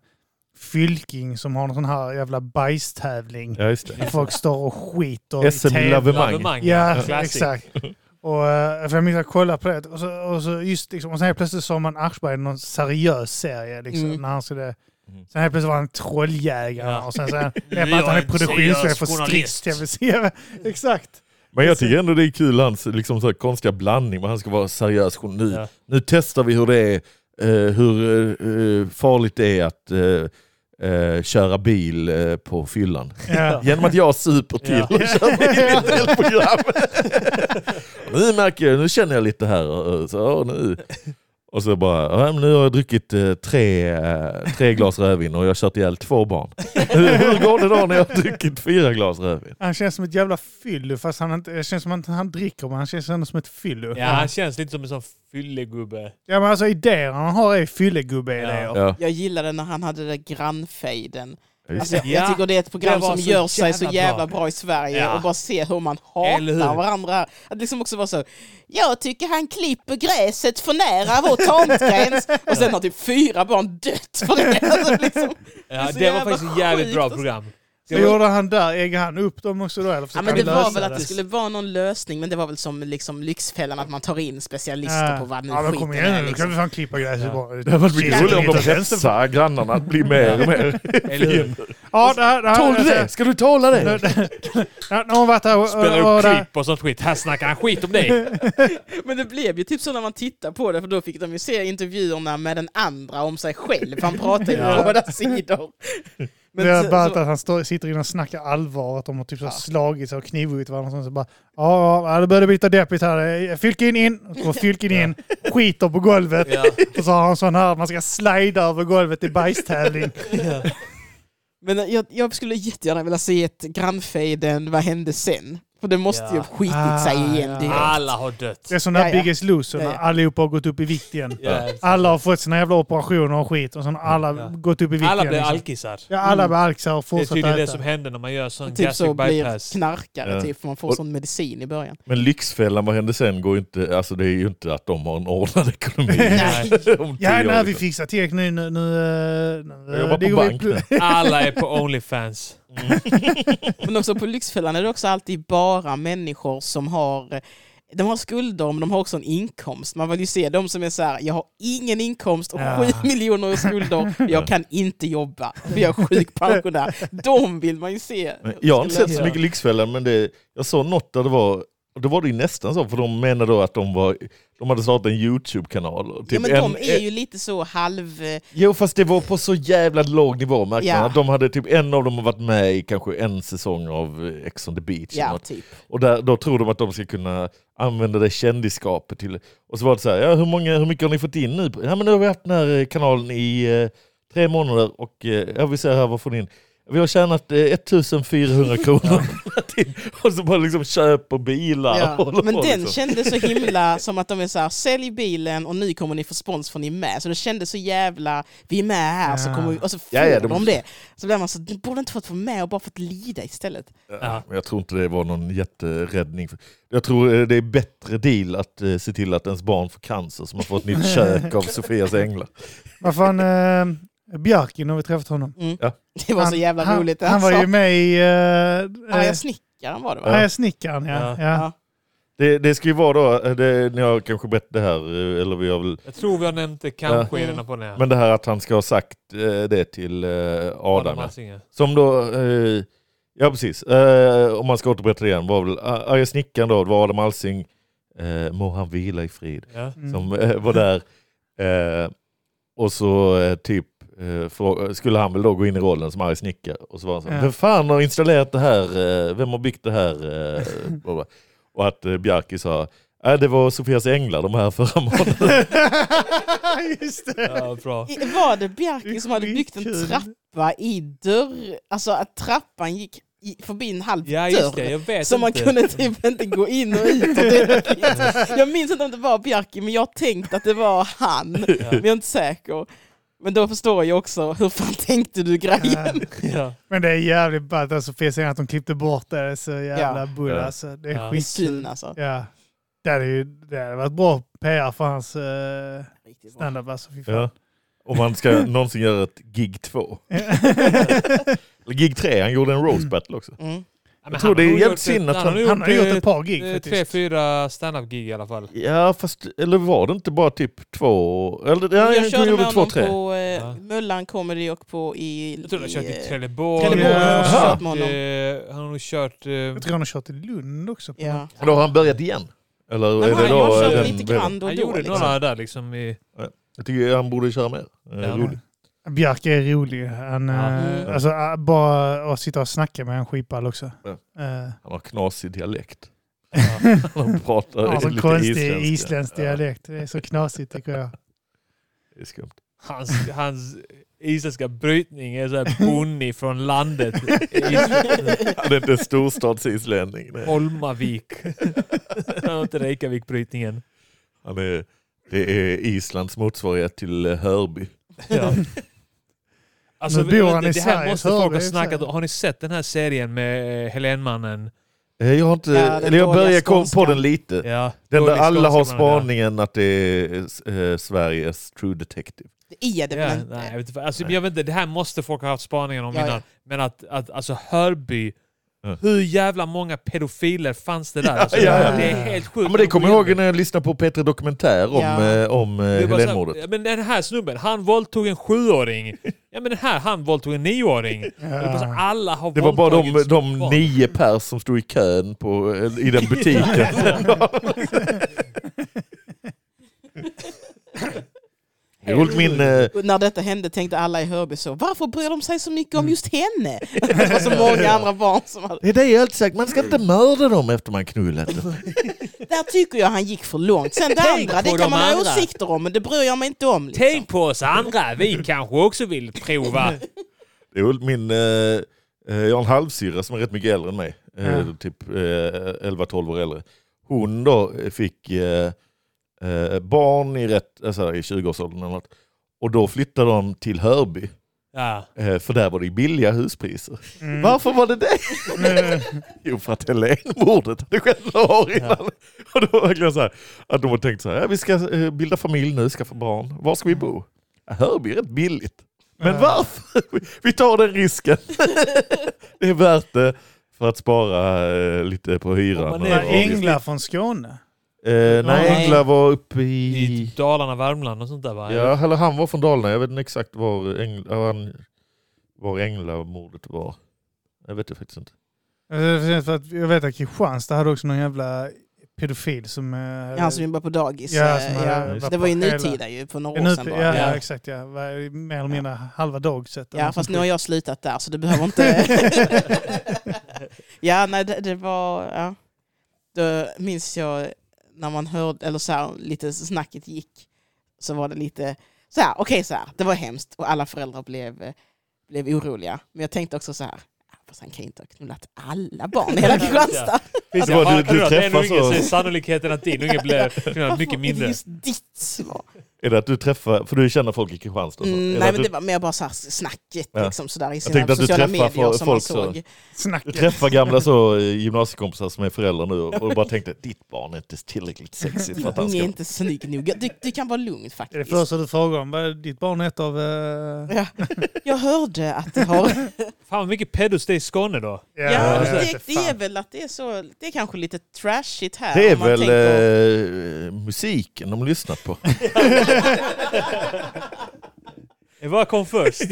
S3: Fylking som har någon sån här jävla bajstävling.
S1: Ja, just det.
S3: Där folk står och skiter i
S1: SM i
S3: TV.
S1: lavemang.
S3: Ja,
S2: Classic.
S3: exakt. Och, eh, för jag minns att jag kollade på det och, så, och, så just, liksom, och sen helt plötsligt såg man Aschberg i någon seriös serie. Liksom,
S4: Mm.
S3: när han skulle,
S1: Mm.
S3: sen helt plötsligt var han trolljägare
S2: Ja.
S3: och sen så är han-
S2: Nu
S3: det är bara
S2: är
S3: att han är
S2: jag en seriös
S3: produktionschef för Strix
S2: journalist.
S3: TV-serie. Exakt.
S1: Men jag tycker ändå det är kul hans liksom, så här, konstiga blandning, men han ska vara seriös. journalist. Nu,
S2: Ja.
S1: nu testar vi hur det är, eh, hur eh, farligt det är att eh, eh, köra bil eh, på fyllan.
S3: Ja.
S1: Genom att jag super till och kör in i ett helt program. nu märker jag, nu känner jag lite här. och Så, ja, nu. Och så bara, ja, men nu har jag druckit eh, tre, eh, tre glas rödvin och jag har kört ihjäl två barn. Hur, hur går det då när jag har druckit fyra glas rödvin?
S3: Han känns som ett jävla fyllo fast han inte, det känns som att han dricker men han känns ändå som ett fyllo.
S2: Ja, han känns lite som en sån fyllegubbe.
S3: Ja, men alltså idéer han har är fyllegubbe-idéer.
S2: Ja.
S1: Ja,
S4: Jag gillade när han hade den där grannfejden.
S1: just
S4: Alltså,
S1: det.
S4: jag,
S2: Ja,
S4: jag tycker det är ett program
S2: det var
S4: som
S2: så
S4: gör sig så
S2: jävla
S4: jävla
S2: bra.
S4: bra i Sverige
S2: Ja.
S4: och bara se hur man
S2: Eller hur?
S4: hatar varandra. Att liksom också vara så, jag tycker han klipper gräset för nära vår tomtgräns och sen har typ fyra barn dött för det. Alltså, liksom.
S2: Ja,
S4: är så
S2: det var
S4: jävla
S2: faktiskt ett jävligt
S4: sjukt
S2: bra
S4: alltså.
S2: program.
S3: Vad gjorde han där? Äggade han upp dem också då? Eller
S4: Ja,
S3: försökte
S4: men
S3: han
S4: det var
S3: lösa
S4: väl att det skulle vara någon lösning, men det var väl som liksom Lyxfällan, att man tar in specialister
S3: Ja.
S4: på vad nu
S3: Ah. Ja men kom igen
S4: skiten är,
S3: nu, nu
S4: liksom.
S3: kan vi fan klippa gräset
S2: Ja.
S3: bara.
S1: Det hade varit mycket
S3: Shit,
S1: roligare om de
S3: inte vänster-
S1: pressar grannarna att bli mer och mer
S2: Eller hur?
S1: fiender.
S3: Ja, det här... det här-
S1: Tål du det? Ska du tåla det?
S3: Ja, Nu har hon varit här och...
S2: Spelar
S3: och-
S2: upp
S3: och-
S2: klipp och sånt skit. Här snackar han skit om dig.
S4: Men det blev ju typ så när man tittar på det, för då fick de ju se intervjuerna med den andra om sig själv. Han pratade ju
S3: Ja.
S4: på båda sidor.
S3: Det är
S4: så-
S3: bara
S4: så-
S3: att han står, sitter inne och snackar allvar, att de har typ så slagit sig och knivhuggit varandra. och sånt, Så bara, ja, ja, ja, det börjar bli lite deppigt här. Fylkin in! Och så går Fylkin in, skiter på golvet.
S2: Ja.
S3: Och så har han sån här, man ska slida över golvet i bajstävling.
S4: Men jag, jag skulle jättegärna vilja se ett grannfejden, vad hände sen? För det måste ju
S2: Ja.
S4: ha skitit
S3: Ah,
S4: sig igen
S3: ja.
S4: direkt.
S2: Alla har dött.
S3: Det är som den här
S4: Ja, ja.
S3: Biggest Loser, när
S4: Ja, ja.
S3: allihopa har gått upp i vikt igen.
S2: Ja.
S3: Alla har fått sina jävla operationer och skit och sen har alla
S2: Ja.
S3: gått upp i vikt
S2: Alla
S3: igen.
S2: blir
S3: liksom.
S2: alkisar.
S3: Ja, alla blir alkisar och
S2: Mm. Det är
S3: fortsätter
S2: tydligen det
S3: äta.
S2: som händer när man gör sån
S4: Och typ så
S2: gastric
S4: blir
S2: bypass.
S4: knarkare,
S1: Ja.
S4: typ, för man får
S1: Och-
S4: sån medicin i början.
S1: Men Lyxfällan, vad hände sen? Går ju inte, alltså det är ju inte att de har en ordnad ekonomi.
S2: Nej.
S1: Om tio
S3: Ja,
S1: år,
S3: nej, vi
S1: liksom.
S3: fixar tek nu. nu, nu eh, nu
S1: Jag jobbar
S3: det
S1: på Mm.
S3: går i
S1: bank
S3: plus-
S1: nu.
S2: Alla är på Onlyfans.
S4: Men också på Lyxfällan är det också alltid bara människor som har eh, de har skulder men de har också en inkomst. Man vill ju se de som är så här, jag har ingen inkomst och
S3: Ja.
S4: sju miljoner i skulder, jag kan inte jobba, för jag är sjukpensionär. De vill man ju se.
S1: Men Jag har inte
S4: skulle
S1: sett så
S4: lösa.
S1: mycket Lyxfällan, men det, jag såg något där det var och då var det ju nästan så, för de menade då att de, var, de hade startat en YouTube-kanal. och
S4: Ja,
S1: Typ
S4: men
S1: en,
S4: de är ju lite så halv...
S1: Jo, fast det var på så jävla låg nivå märkte
S4: Ja.
S1: man. Att De hade typ, en av dem har varit med i kanske en säsong av eh, Ex on the beach. eller
S4: Ja,
S1: något.
S4: typ.
S1: Och där, då tror de att de ska kunna använda det kändisskapet till... Och så var det så här, ja, hur, många, hur mycket har ni fått in nu? Ja, men nu har vi haft den här eh, kanalen i eh, tre månader och eh, ja, vi ser här, vad får ni in? Vi har tjänat eh, 1400 kronor. och så bara liksom köper bilar. och
S4: Ja.
S1: håller
S4: Men
S1: på,
S4: den
S1: liksom.
S4: kändes så himla som att de är så här, sälj bilen och nu kommer ni få spons för ni är med. Så det kändes så jävla, vi är med här så
S3: Ja.
S4: kommer vi, och så får
S1: Ja, ja,
S4: de,
S1: de-
S4: det. Så blir man så, du borde inte fått vara med och bara fått lida istället.
S2: Ja.
S1: Men jag tror inte det var någon jätteräddning. Jag tror eh, det är bättre deal att eh, se till att ens barn får cancer så man får ett nytt kök av Sofias änglar.
S3: Vad fan, eh, Bjarki, när vi träffat honom.
S4: Mm.
S1: Ja.
S4: Det var så jävla
S3: han,
S4: roligt. Alltså.
S3: Han, han var ju med i... eh, eh,
S4: Arga snickaren var det va?
S3: Arga snickaren, ja.
S2: Ja.
S3: ja.
S4: Ja.
S1: Det, det ska ju vara då, eh, det, ni har kanske berättat det här, eh, eller vi har väl
S2: Jag tror vi har nämnt det kanske i den här podden. ja.
S1: Men det här att han ska ha sagt eh, det till eh, Adam. ja.
S2: Alsinger.
S1: Som då, eh, ja precis, eh, om man ska återberätta det igen, var väl Ar- arga snickaren då, det var Adam Alsing, eh, må han vila i frid,
S2: Ja.
S3: Mm.
S1: som eh, var där. Eh, och så eh, typ eh, frå- skulle han väl då gå in i rollen som arg snickare. Och så var han så,
S3: Ja.
S1: vem fan har installerat det här, eh, vem har byggt det här? Eh, bla, bla. och att eh, Bjarki sa, äh, det var Sofias änglar de här förra månaden.
S3: Just det.
S2: Ja, bra.
S4: I- Var det Bjarki
S3: Det är
S4: som hade byggt en
S3: skitkul.
S4: trappa i dörr, alltså att trappan gick i, förbi en halv
S2: Ja, just det.
S4: dörr?
S2: Jag vet
S4: Så man
S2: inte.
S4: kunde typ inte gå in och ut. Och det, jag minns inte om det var Bjarki, men jag tänkte att det var han. Men
S2: Ja.
S4: jag är inte säker. Men då förstår jag också, hur fan tänkte du grejen?
S2: Ja.
S3: Men det är jävligt ballt. Alltså, finns det att de klippte bort det. det är så jävla bull.
S1: Ja.
S3: Alltså. Det är
S2: Ja.
S4: Det är
S3: skitkul.
S4: synd alltså.
S3: Ja. Det hade, ju, det hade varit bra PR för hans uh,
S4: Riktigt bra.
S3: standup. Alltså, fy fan.
S1: Ja. Om man ska någonsin göra ett gig två. Eller gig tre, han gjorde en roast battle också.
S4: Mm.
S2: Men
S1: tror
S2: han
S1: det är
S2: har nog
S1: jävligt
S2: gjort
S1: synd att
S2: ett-
S1: han-
S2: har nog
S3: Han har gjort
S2: eh,
S3: ett par gig
S2: eh,
S3: faktiskt.
S2: Tre, fyra standup-gig i alla fall.
S1: Ja, fast eller var det inte bara typ två? Eller, ja,
S4: jag körde med
S1: gjorde två,
S4: honom
S1: tre.
S4: på eh,
S2: Ja.
S4: Möllan Comedy och på i...
S2: Jag tror han har kört
S4: i,
S2: i
S4: eh,
S2: Trelleborg.
S4: Trelleborg
S3: har jag också
S2: Han har
S4: kört med honom.
S2: eh, Han har nog kört... eh,
S3: Jag tror han har kört i Lund också. På
S4: Ja.
S1: Och Då har han börjat igen? Eller
S4: Nej,
S1: är det
S4: men han
S1: då eh,
S4: jag körde
S1: den
S4: lite
S1: bredden?
S4: grann då och
S2: Han
S4: då.
S2: gjorde
S4: Liksom.
S2: några där liksom i...
S1: Jag tycker han borde köra mer. Eh,
S2: Ja.
S1: roligt.
S3: Björk är rolig. Han,
S2: Ja.
S3: eh,
S4: Mm.
S3: alltså, eh, bara att sitta och snacka med en skitball också.
S1: Ja.
S3: Eh,
S1: Han har knasig dialekt.
S2: Ja.
S1: Han pratar
S3: alltså,
S1: lite
S3: konstig
S1: isländska.
S3: isländsk
S1: Ja,
S3: dialekt. Det är så knasigt tycker jag.
S1: det är skumt.
S2: Hans, hans isländska brytning är såhär bonny från landet. Island.
S1: Han är inte storstadsislänning. nej.
S2: Holmavik. Han har inte Reykjavik-brytningen.
S1: Han är, det är Islands motsvarighet till eh, Hörby.
S2: Ja. Alltså,
S3: Nu bor han
S2: det,
S3: i
S2: det här
S3: Sverige,
S2: måste
S3: så
S2: folk
S3: det
S2: ha
S3: är
S2: snackat
S3: så här.
S2: om. Har ni sett den här serien med eh, Helenmannen?
S1: Eh, Jag har inte,
S4: Ja, den
S1: eller jag
S4: dåliga
S1: börjar komma på
S4: skånskan.
S1: den lite.
S2: Ja.
S1: Den där
S2: Dålig
S1: alla har
S2: skådespelare.
S1: spaningen att det är eh, Sveriges true detective.
S4: Det är det
S2: Ja,
S4: väl inte?
S2: nej, jag vet inte. Alltså, jag vet inte, det här måste folk ha haft spaningar om
S4: Ja,
S2: innan. Men att, att alltså Hörby,
S1: Ja.
S2: hur jävla många pedofiler fanns det där? alltså,
S1: ja, ja.
S2: Det är helt sjukt.
S1: Ja, men det kommer jag ihåg när jag lyssnade på Petri Dokumentär om,
S4: Ja.
S1: eh, om eh,
S2: Det är bara så här,
S1: Helenmordet.
S2: ja, Men den här snubben, han våldtog en sjuåring. Ja men den här, han våldtog en nioåring. Och det är bara så här, alla har
S1: Det var bara de,
S2: våldtagits
S1: de
S2: barn.
S1: nio pers som stod i kön på, eh, i den butiken. Det är roligt, min, eh,
S4: Och när detta hände tänkte alla i Hörby så, varför bryr de sig så mycket om just henne? Det var så många andra barn som hade...
S1: det är det jag alltid sagt, man ska inte mörda dem efter man knullat dem.
S4: Där tycker jag han gick för långt. Sen det
S2: Tänk
S4: andra,
S2: på
S4: det kan
S2: de
S4: man ha
S2: andra.
S4: åsikter om, men det bryr jag mig inte om. Liksom.
S2: Tänk på oss andra, vi kanske också vill prova.
S1: Det är roligt, min, eh, eh, jag har en halvsyrra som är rätt mycket äldre än mig. Eh,
S3: Ja.
S1: Typ eh, 11-12 år äldre. Hon då eh, fick eh, eh, barn i, rätt, alltså, i 20-årsåldern eller något. Och då flyttade de till Hörby.
S2: Ja.
S1: Eh, För där var det billiga huspriser.
S3: Mm.
S1: Varför var det det?
S3: Mm.
S1: Jo, för att Helen-mordet hade skett några år innan. Och då var det verkligen så här, att de hade tänkt så här, ja, vi ska eh, bilda familj nu, skaffa barn. Var ska vi bo? Ja, Hörby är rätt billigt. Men
S3: Ja.
S1: varför? Vi tar den risken. det är värt det för att spara eh, lite på hyran.
S2: Om man
S1: och
S2: är
S3: Var
S1: avgift.
S3: Engla från Skåne?
S1: Eh, nej,
S4: Nej.
S1: Engla var uppe i...
S2: I Dalarna, Värmland och sånt där va? Alltså,
S1: Ja, eller han var från Dalarna. Jag vet inte exakt var, Engla, han, var Engla-mordet var. Jag vet det faktiskt inte.
S3: Eh, för att Jag vet att Kristianstad hade också någon jävla pedofil som... eh,
S4: Ja, Han som jobbar på dagis.
S3: Ja,
S4: eh,
S3: som har-
S4: ja.
S1: just
S4: Det var ju
S3: hela-
S4: nutida ju, för några
S3: Ja,
S4: år
S3: nu,
S4: sedan
S3: ja,
S4: bara.
S3: ja.
S2: Ja.
S3: exakt ja. Var- Mer eller mindre halva dagset.
S4: Ja, fast nu har jag slutat där så du behöver inte... ja, nej, det, det var... Ja. Då minns jag när man hörde, eller så här, lite snacket gick, så var det lite så här, okej så här, det var hemskt och alla föräldrar blev, eh, blev oroliga. Men jag tänkte också så här, "Ah, fast han kan ju inte ha knullat alla barn i hela Kristianstad.
S1: Finns
S2: Ja, hörde då? det är nog ingen, så är sannolikheten att din unge blir mycket
S4: Är det
S2: mindre.
S4: just ditt svar?
S1: Är det att du träffar, för du känner folk i Kristianstad? och så. Alltså, är
S4: Mm,
S1: det
S4: nej,
S1: att
S4: men
S1: du,
S4: det var mer bara så här snacket
S1: Ja.
S4: liksom, så där, i
S1: tänkte
S4: sina
S1: att du
S4: sociala
S1: träffar
S4: medier
S1: fo-
S4: som man
S1: folk så.
S4: såg.
S1: du
S3: Snacket.
S1: träffar gamla så, eh, gymnasiekompisar som är föräldrar nu och bara tänkte ditt barn är inte tillräckligt sexigt för att han
S4: Ingen är
S1: ska...
S4: inte snygg nog. Du, du kan vara lugn
S3: Är det
S4: faktiskt.
S3: första du frågar om? Vad är Ditt barn är ett av... eh,
S4: Ja. Jag hörde att det har...
S2: Fan vad mycket pedos det är i Skåne då.
S4: Ja,
S1: det
S3: jag vet
S4: det,
S3: inte,
S4: det
S3: fan.
S4: är väl att det är så... Det är kanske lite trashigt här.
S1: Det är
S4: om man
S1: väl
S4: tänker-
S1: eh, musiken de lyssnat på.
S2: Vad kom först?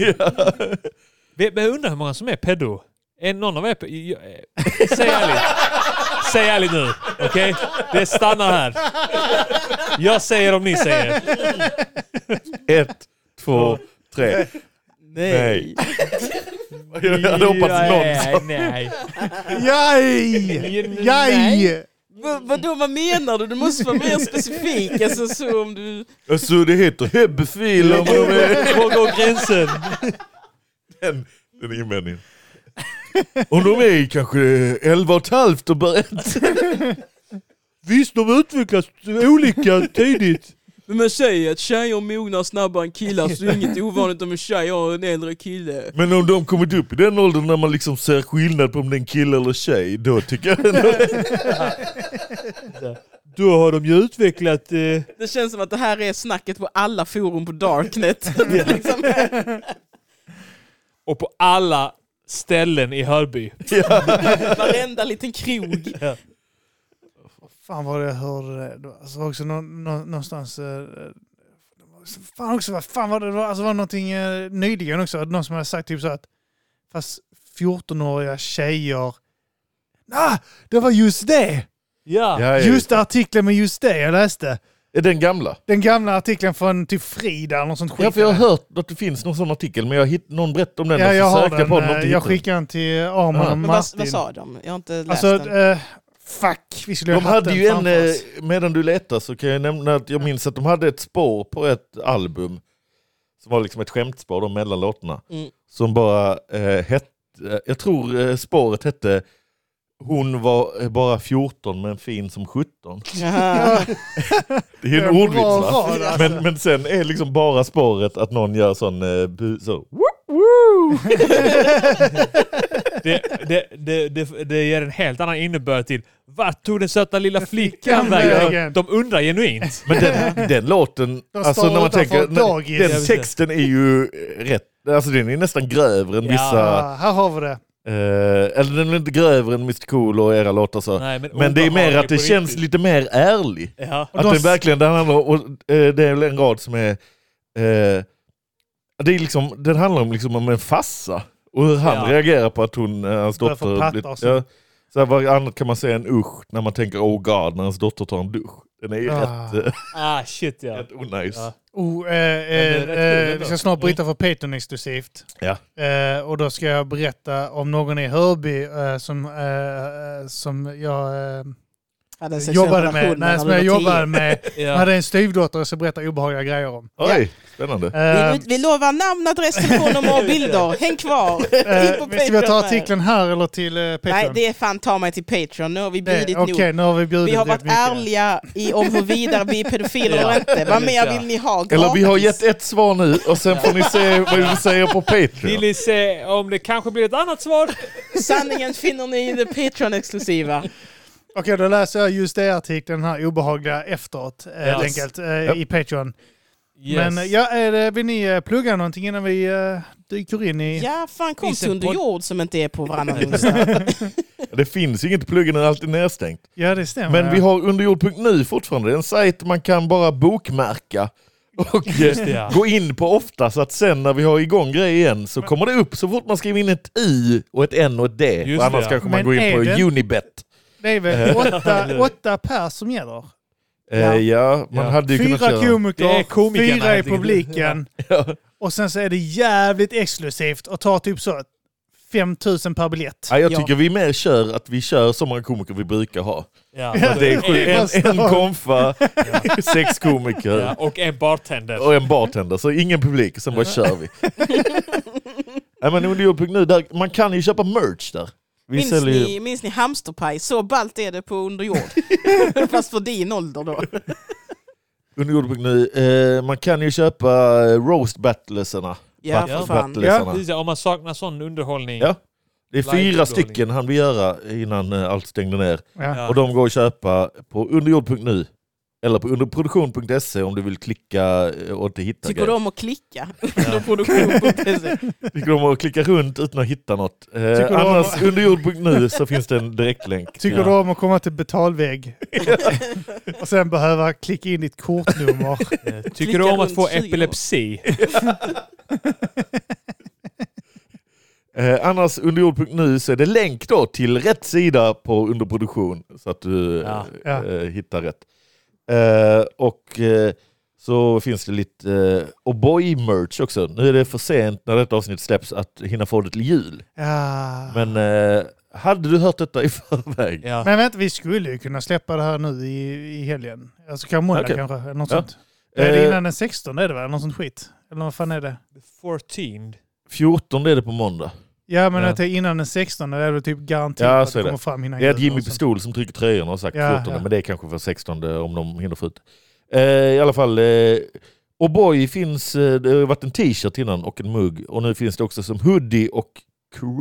S2: Vi- Men jag undrar hur många som är pedo. Är någon av er pe- jag- eh, Säg ärligt. Säg ärligt nu. Okej? Det stannar här. Jag säger om ni säger.
S1: Ett, två, tre. Nej. Jag hade hoppats någon.
S2: Nej, nej.
S3: Jaj! Jaj!
S4: V- vadå, vad menar du? Du måste vara mer specifik. Alltså, så om du...
S1: Alltså det heter hebbefiler men de är...
S2: Var går gränsen?
S1: Den, den invändningen. Om de är kanske elva och ett halvt och börjar... Visst, de utvecklas olika tidigt.
S4: Men man säger att tjejer mognar snabbare än killar så det är inget ovanligt om en tjej har en äldre kille.
S1: Men om de kommit upp i den åldern när man liksom ser skillnad på om det är en kille eller tjej, då tycker jag ändå...
S2: Då har de ju utvecklat... Eh,
S4: Det känns som att det här är snacket på alla forum på Darknet. Det är liksom,
S2: och på alla ställen i Hörby.
S4: varenda liten krog.
S3: Fan vad jag hörde det. det. var- Alltså var också nå, nå, någonstans... eh, det var också- Fan också, vad fan var det? det var- Alltså var det någonting eh, nyligen också? att Någon som hade sagt typ så att... Fast 14-åriga tjejer... Ah, det var just det!
S2: Ja.
S1: Ja,
S3: Just artikeln med just det jag läste.
S1: Är den gamla?
S3: Den gamla artikeln från typ Frida eller något sånt skit.
S1: Ja, för jag har hört att det finns någon sån artikel, men jag hitt, någon berättade om den
S3: Ja,
S1: och
S3: jag
S1: så
S3: har
S1: sökte jag på den. och
S3: den.
S1: inte
S3: eh, Jag
S1: hittade den.
S3: skickade den till Arman
S1: Ja.
S3: och
S4: Men vad,
S3: Martin.
S4: vad sa de? Jag har inte läst
S3: Alltså,
S4: den.
S3: eh, fuck. Vi skulle
S1: De
S3: ha haft
S1: hade
S3: den
S1: ju en,
S3: framför oss.
S1: eh, medan du letar så kan jag nämna att jag minns att de hade ett spår på ett album som var liksom ett skämtspår då, mellan låtarna.
S4: Mm.
S1: Som bara eh, hette, jag tror eh, spåret hette Hon var eh, bara 14 men fin som 17.
S4: Jaha.
S1: Det är ju en
S3: Det är en
S1: ordvits
S3: bra
S1: va?
S3: rad, alltså.
S1: Men, men sen är liksom bara spåret att någon gör sån eh, bu, så,
S2: Det, det, det, det, det ger en helt annan innebörd till vart tog den söta lilla flickan vägen? De undrar genuint.
S1: Men den, den låten,
S3: De
S1: alltså
S3: står
S1: när man
S3: utanför
S1: tänker,
S3: dagis.
S1: den
S2: Ja, precis.
S1: texten är ju rätt, alltså den är nästan grövre än
S2: Ja.
S1: vissa,
S3: Ja, Ah, här har vi det.
S1: eh, eller den är inte grövre än Mr Cool och era låtar så.
S2: Nej,
S1: Men det är mer
S2: obehaglig
S1: att det
S2: på
S1: känns
S2: riktigt.
S1: lite mer ärlig.
S2: Ja.
S3: Och
S1: Att
S3: de
S1: det
S3: s-
S1: verkligen den handlar om, och, eh, det är väl en rad som är, eh, det är liksom, den handlar om, liksom om en fassa och hur han
S2: Ja.
S1: reagerar på att hon, eh, hans
S3: Börjar få patta
S1: dotter...
S3: och så.
S1: ja, så här, vad annat kan man säga än usch när man tänker oh god när hans dotter tar en dusch. Den är ju
S3: Ah.
S1: rätt, eh,
S2: Ah, shit ja.
S1: rätt onajs.
S2: Ja.
S3: Oh, eh,
S2: det är
S3: eh,
S2: rätt kul
S3: eh,
S2: ändå.
S3: vi ska snart bryta för Patreon exklusivt.
S1: Ja.
S3: Eh, och då ska jag berätta om någon i Hörby eh, som, eh, eh, som jag eh,
S4: Hade en sexuell
S3: jobbade
S4: relation
S3: med. Nej,
S4: när
S3: som
S4: du
S3: jag
S4: var tio.
S3: jobbade med.
S2: ja.
S3: Jag hade en styvdotter och så berättade obehagliga grejer om.
S1: Oj, spännande.
S3: Eh,
S4: Vi, vi lovar namn, adress, telefonnummer och bilder. Häng kvar! In på
S3: eh, ska jag ta
S4: Patreon här.
S3: artikeln här eller till eh, Patreon?
S4: Nej, det är fan ta mig till Patreon. Nu har vi
S3: Det-
S4: bjudit
S3: Okej,
S4: nog.
S3: nu har vi bjudit
S4: Vi har
S3: rätt
S4: varit
S3: mycket.
S4: ärliga i om huruvida vi är pedofiler
S2: Ja,
S4: eller inte. Vad
S2: precis,
S4: mer
S2: ja.
S4: vill ni ha gratis?
S1: Eller vi har gett ett svar nu och sen får ni se vad vi säger på
S2: Vill
S1: Patreon.
S2: ni se om det kanske blir ett annat svar?
S4: Sanningen finner ni i det Patreon-exklusiva.
S3: Okej, då läser jag just det artikeln, den här obehagliga efteråt eh, helt
S2: Yes.
S3: enkelt eh,
S1: Japp.
S3: i Patreon.
S2: Yes.
S3: Men eh, ja, är det, vill ni eh, plugga någonting innan vi eh, dyker in i...
S4: Ja, fan kom
S2: Finns
S4: till
S2: en
S4: under
S2: podd-
S4: jord som inte är på varannan onsdag.
S1: Det finns ju inget pluggen, den är alltid nedstängt.
S3: Ja, det stämmer.
S1: Men vi har underjord.nu fortfarande. Det är en sajt man kan bara bokmärka och eh,
S2: det, ja.
S1: gå in på ofta så att sen när vi har igång grejer igen så kommer det upp så fort man skriver in ett i och ett n och ett d.
S2: Just
S1: För annars
S2: det, ja.
S1: kanske man
S3: Men
S1: går in
S3: är
S1: på
S3: det-
S1: Unibet.
S3: Det är väl åtta, åtta per som gäller.
S1: Eh,
S4: Ja.
S1: Ja. man
S2: Ja.
S1: hade ju
S3: Fyra
S1: kunnat göra...
S2: Det är
S3: komiker,
S2: komikerna,
S3: fyra i
S2: helt enkelt.
S3: publiken.
S1: Ja.
S3: Och sen så är det jävligt exklusivt och tar typ så 5000 per biljett.
S1: Ja, jag
S4: Ja.
S1: tycker vi mer kör att vi kör så många komiker vi brukar ha.
S2: Ja.
S1: Det är sju,
S3: fast-
S1: en, en konfa, sex komiker.
S2: Ja, och en bartender.
S1: och en bartender. Så ingen publik, sen bara kör vi. Nej, men underjord.nu, där, man kan ju köpa merch där. Vi
S4: Minns
S1: säljer ju...
S4: ni, minns ni hamsterpaj? Så ballt är det på under jord. Fast för din ålder då.
S1: Underjord.nu, eh, man kan ju köpa eh, roast battleserna.
S4: Ja,
S2: Ja.
S4: för fan.
S1: Battleserna.
S2: Precis, Om man saknar sån underhållning.
S1: Ja. Det är
S2: Live-underhållning.
S1: fyra stycken han vill göra innan eh, allt stängde ner.
S3: Ja.
S2: Ja.
S1: Och de går att köpa på underjord.nu. Eller på underproduktion.se om du vill klicka eh, och inte hitta
S4: Tycker du
S1: grejer.
S4: om att klicka? Underproduktion.se.
S1: Tycker du om att klicka runt utan att hitta något? Eh,
S3: Tycker du om-
S1: annars underjord.nu så finns det en direktlänk.
S3: Tycker
S2: Ja.
S3: du om att komma till betalvägg och sen behöva klicka in ditt kortnummer?
S2: Tycker du om att få
S4: runt tjugo.
S2: epilepsi?
S1: Eh, annars underjord.nu så är det länk då till rätt sida på underproduktion så att du
S2: Ja.
S3: Ja.
S1: Eh, hittar rätt. Eh, och eh, så finns det lite eh, O'boy-merch också. Nu är det för sent när detta avsnitt släpps att hinna få det till jul.
S3: Ja. Men,
S1: Men eh, hade du hört detta i förväg?
S2: Ja.
S3: vänta, vi skulle ju kunna släppa det här nu i, i helgen. Alltså kan måndag
S1: Okej.
S3: kanske, eller något
S1: Ja.
S3: sånt. Är det
S1: Eh,
S3: innan den 16 är det väl? Något sånt skit? Eller vad fan är det?
S2: 14.
S1: 14 är det på måndag.
S3: Ja men
S2: Ja.
S3: att det är innan den 16 det är väl typ garanterat
S1: Ja,
S3: att
S1: så
S3: det
S1: är det.
S3: kommer fram innan
S1: Det är att
S3: jul
S1: Jimmy
S3: och sånt.
S1: Pistol som trycker tröjan har sagt
S3: Ja,
S1: 14,
S3: ja.
S1: men det är kanske för 16 om de hinner få ut det. eh, I alla fall, eh, O'boy finns, eh, det har ju varit en t-shirt innan och en mugg och nu finns det också som hoodie och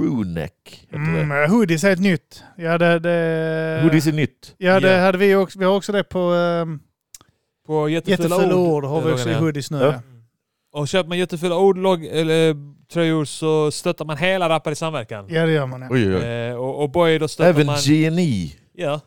S1: crewneck. Heter
S3: Mm, eh, hoodies är helt nytt. Ja
S1: det.
S3: det... det
S1: Hoodies är nytt.
S3: ja det
S2: Ja.
S3: hade vi också. Vi har också det på um,
S2: På jättefula,
S3: jättefula
S2: ord.
S3: ord. Har vi
S2: Eh,
S3: också i
S2: ja.
S3: hoodies nu.
S1: Ja.
S3: Ja.
S2: Mm. Och köper man jättefula ordlogg eller eh, tröjor så stöttar man hela Rappar i samverkan.
S3: ja det gör man. Ja.
S1: Oj, oj, oj.
S2: Eh, och, och boy, då stöttar
S1: Även
S2: man...
S1: GNI.
S2: Ja.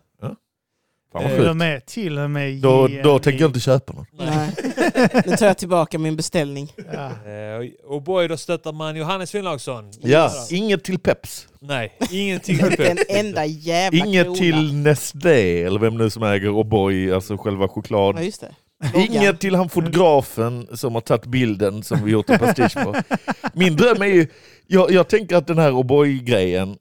S1: Fan vad
S2: Eh,
S3: Till och
S1: sjukt.
S3: med, till och med
S1: Då,
S3: JNI.
S1: då tänker jag inte köpa någon.
S2: Nej.
S4: Nej. Nu tar jag tillbaka min beställning.
S3: Ja.
S2: Eh, och boy, då stöttar man Johannes Finnlaugsson.
S1: Ja, inget till Peps.
S2: Nej, ingenting.
S4: Inte en enda jävla
S1: Inget
S4: krona.
S1: till Nestlé eller vem nu som äger O'boy, alltså själva
S4: Ja,
S1: choklad.
S4: just det.
S1: Inget till han fotografen som har tagit bilden som vi gjort en pastisch på. Min dröm är ju, jag, jag tänker att den här O'boy-grejen,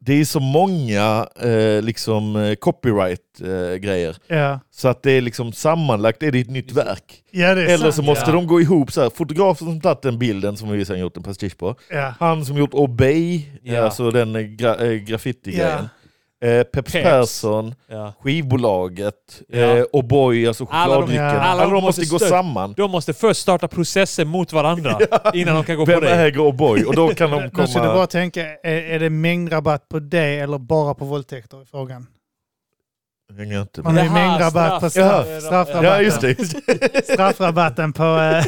S1: det är så många eh, liksom, copyright-grejer.
S3: Ja.
S1: så att det är liksom sammanlagt är det ett nytt verk.
S3: ja, det är
S1: Eller
S3: sant.
S1: så måste
S2: ja.
S1: de gå ihop så här. Fotografen som tagit den bilden som vi sen gjort en pastisch på.
S3: Ja.
S1: Han som gjort Obey,
S2: Ja.
S1: alltså den gra- eh, graffiti-grejen. eh, Peps
S2: Peps.
S1: Persson,
S2: Ja.
S1: skivbolaget,
S2: Ja.
S1: eh, O'boy, alltså
S2: Alla de-
S1: chokladdrickan. Alla
S3: ja.
S1: de,
S2: alla de
S1: måste
S2: måste
S1: gå
S2: stöd-
S1: samman.
S2: De måste först starta processen mot varandra innan de kan gå på
S1: Vem
S2: det.
S1: äger O'boy? Och då kan de
S3: Nu ska du
S1: komma...
S3: bara tänka, är, är det mängdrabatt på det eller bara på våldtäkter i frågan?
S1: Hänger jag inte med.
S3: Man har ju
S2: Jaha,
S3: mängdrabatt på
S1: straff.
S3: straff,
S2: Ja.
S3: straffrabatten.
S1: Ja, just det. Just det.
S3: Straffrabatten på eh,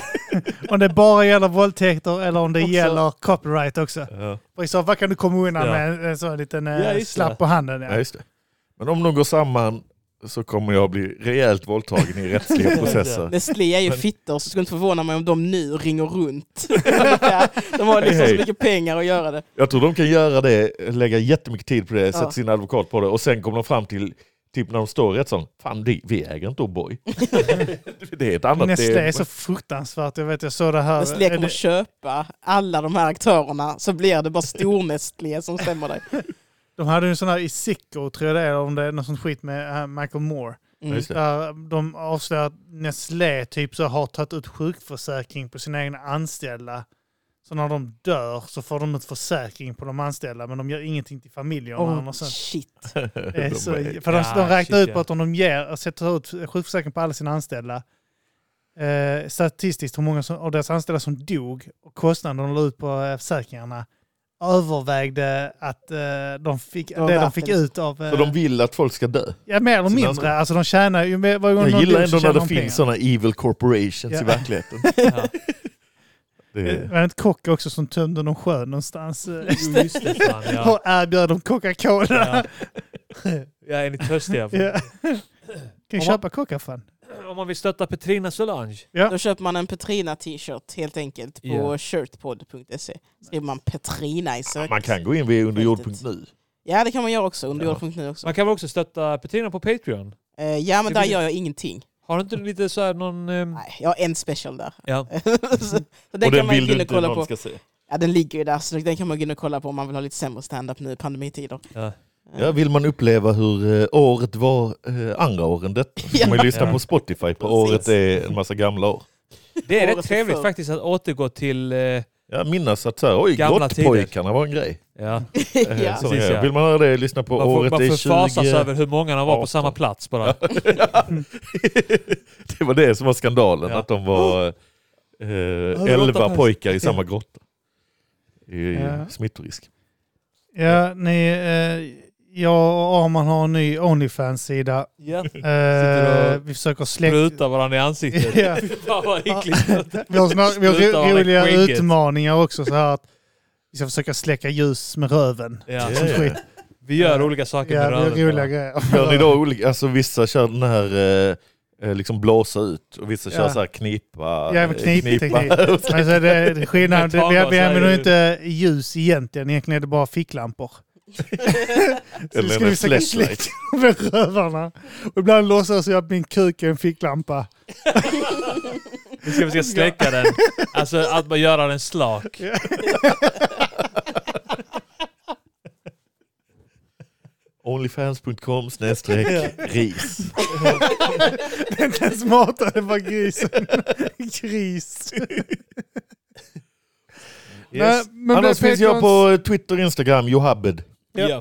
S3: om det bara gäller våldtäkter eller om det
S4: Också-
S3: gäller copyright också.
S1: Ja,
S3: Och i så fall kan du komma undan
S2: Ja.
S3: med en- en sån liten eh,
S2: Ja, just det.
S3: slapp på handen.
S1: ja,
S3: Ja.
S1: just det. Men om de går samman så kommer jag bli rejält våldtagen i rättsliga processer.
S4: Nestlé är ju fittor, så det skulle inte förvåna mig om de nu ringer runt. de har liksom så
S1: Hej.
S4: mycket pengar att göra det.
S1: Jag tror de kan göra det, lägga jättemycket tid på det, sätta
S4: Ja.
S1: sin advokat på det och sen kommer de fram till, typ när de står i rättssalen, fan det- vi äger inte O'boy. det är ett annat...
S3: Nestlé
S1: det
S3: är så fruktansvärt. Jag vet, jag såg det här.
S4: Nestlé
S3: Är
S4: kommer
S3: det-
S4: köpa alla de här aktörerna, så blir det bara stor-Nestlé som stämmer dig.
S3: De hade ju en sån här i Sicko, tror jag det är, om det är något sånt skit med eh, Michael Moore.
S1: Ja,
S4: Mm.
S1: just det.
S3: Där eh, de avslöjar att Nestlé typ så har tagit ut sjukförsäkring på sina egna anställda. Så när de dör så får de ut försäkring på de anställda men de gör ingenting till familjerna.
S4: Oh,
S3: och sen,
S4: shit.
S3: det är så,
S1: De är-
S3: för de,
S2: Ja,
S3: de räknar
S2: shit,
S3: ut
S2: ja.
S3: på att om de ger, sätter ut sjukförsäkring på alla sina anställda eh, statistiskt hur många som, av deras anställda som dog och kostnaden de la ut på eh, försäkringarna övervägde att eh, de fick,
S4: var
S3: det de
S4: värt
S3: fick
S4: det.
S3: ut av... eh,
S1: Så de vill att folk ska dö.
S3: Ja, mer eller
S1: Sina
S3: mindre.
S1: anställda.
S3: Alltså de tjänar ju... Med, varje gång
S1: Jag
S3: de
S1: gillar
S3: dog så
S1: ändå när det
S3: tjänar de
S1: finns
S3: pengar.
S1: sådana evil corporations
S3: Ja.
S1: i verkligheten.
S2: Ja.
S1: Det
S3: Det
S1: är...
S3: var en kock också som tömde någon sjö någonstans. eh,
S2: Jo, Just det, fan, ja.
S3: Och erbjöd dem Coca-Cola.
S2: Ja. ja, är ni törstiga?
S3: Ja. Kan
S2: man-
S3: ju köpa coca fan.
S2: Om man vill stötta Petrina Solange.
S4: Då köper man en Petrina-t-shirt helt enkelt på
S2: Ja.
S4: shirtpod.se. Skriver man Petrina i söket.
S1: Man kan gå in via underjord.nu.
S4: Ja, det kan man göra också. Underjord.nu också.
S2: Man kan väl också stötta Petrina på Patreon?
S4: Eh, Ja, men
S2: Det
S4: där
S2: blir-
S4: gör jag ingenting.
S2: Har inte du lite så här någon... ehm,
S4: Nej, jag har en special där.
S2: Ja.
S4: så, så
S1: och
S4: den kan
S1: den
S4: man
S1: vill du
S4: gå in och
S1: inte
S4: kolla
S1: någon
S4: på.
S1: ska se.
S4: Ja, den ligger ju där, så den kan man gå in och kolla på om man vill ha lite sämre stand-up nu i pandemitider. Eh,
S2: Ja.
S1: Ja, vill man uppleva hur eh, året var eh, andra åren detta så
S4: Ja.
S1: får man ju lyssna
S2: Ja.
S1: på Spotify på
S4: Precis.
S1: året är en massa gamla år.
S2: Det är
S4: Året
S2: rätt
S4: är
S2: trevligt
S4: förr.
S2: faktiskt att återgå till... eh,
S1: Jag minnas att så här, oj,
S2: Gamla
S1: grottpojkarna var en grej.
S2: ja.
S1: Eh,
S4: ja.
S1: sån
S2: Precis,
S1: grej.
S2: ja.
S1: Vill man höra det, lyssna på
S2: Man, får,
S1: året
S2: man
S1: är
S2: förfasas
S1: 20...
S2: över hur många de var på
S1: 18.
S2: samma plats bara.
S1: det var det som var skandalen,
S2: Ja.
S1: att de var eh,
S2: åtta pers.
S1: elva pojkar i samma grotta. Det är ju
S3: Ja.
S1: smittorisk.
S3: Ja, ni... Eh, jag och Arman har en ny Onlyfans-sida.
S2: Ja.
S3: Eh,
S2: och
S3: vi försöker släcka...
S2: Spruta varandra i ansiktet.
S3: Ja.
S2: Fy fan vad äckligt.
S3: Vi har, såna, vi har
S2: Spruta
S3: ro,
S2: varandra i
S3: roliga
S2: skägget.
S3: utmaningar också. Så här att vi ska försöka släcka ljus med röven.
S2: Ja.
S1: Ja, ja.
S3: Skit.
S2: Vi gör olika saker
S3: Ja,
S2: med
S3: vi har
S2: röven.
S3: roliga
S2: bara.
S3: grejer.
S1: Kör ni då olika, alltså vissa kör den här eh, eh, liksom blåsa ut och vissa kör
S3: Ja.
S1: så här knipa.
S3: Ja, men
S1: eh,
S3: knipteknik. Alltså det, det är skillnad. Det, vi, vi använder ju inte ljus egentligen. Egentligen är det bara ficklampor. Så
S1: Eller
S3: vi skulle
S1: en
S3: försöka
S1: flashlight.
S3: släcka med rövarna. Och ibland låtsas jag att min kuk är en ficklampa.
S2: Vi ska försöka släcka den. Alltså att bara göra den slak.
S1: Onlyfans.com snedstreck ris.
S3: Den smartare var grisen. Gris.
S1: Yes.
S3: Nej, men
S1: Annars
S3: det är
S1: finns jag
S3: Patrons-
S1: på Twitter, Instagram, Johabed.
S3: Ja.
S2: Ja.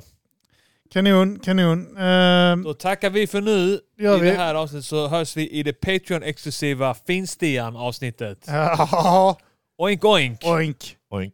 S3: Kanon, kanon. Ehm,
S2: Då tackar vi för nu.
S3: Gör
S2: I
S3: vi.
S2: det här avsnittet så hörs vi i det Patreon-exklusiva Finstian-avsnittet.
S3: Ja,
S2: Oink oink!
S3: oink.
S1: Oink.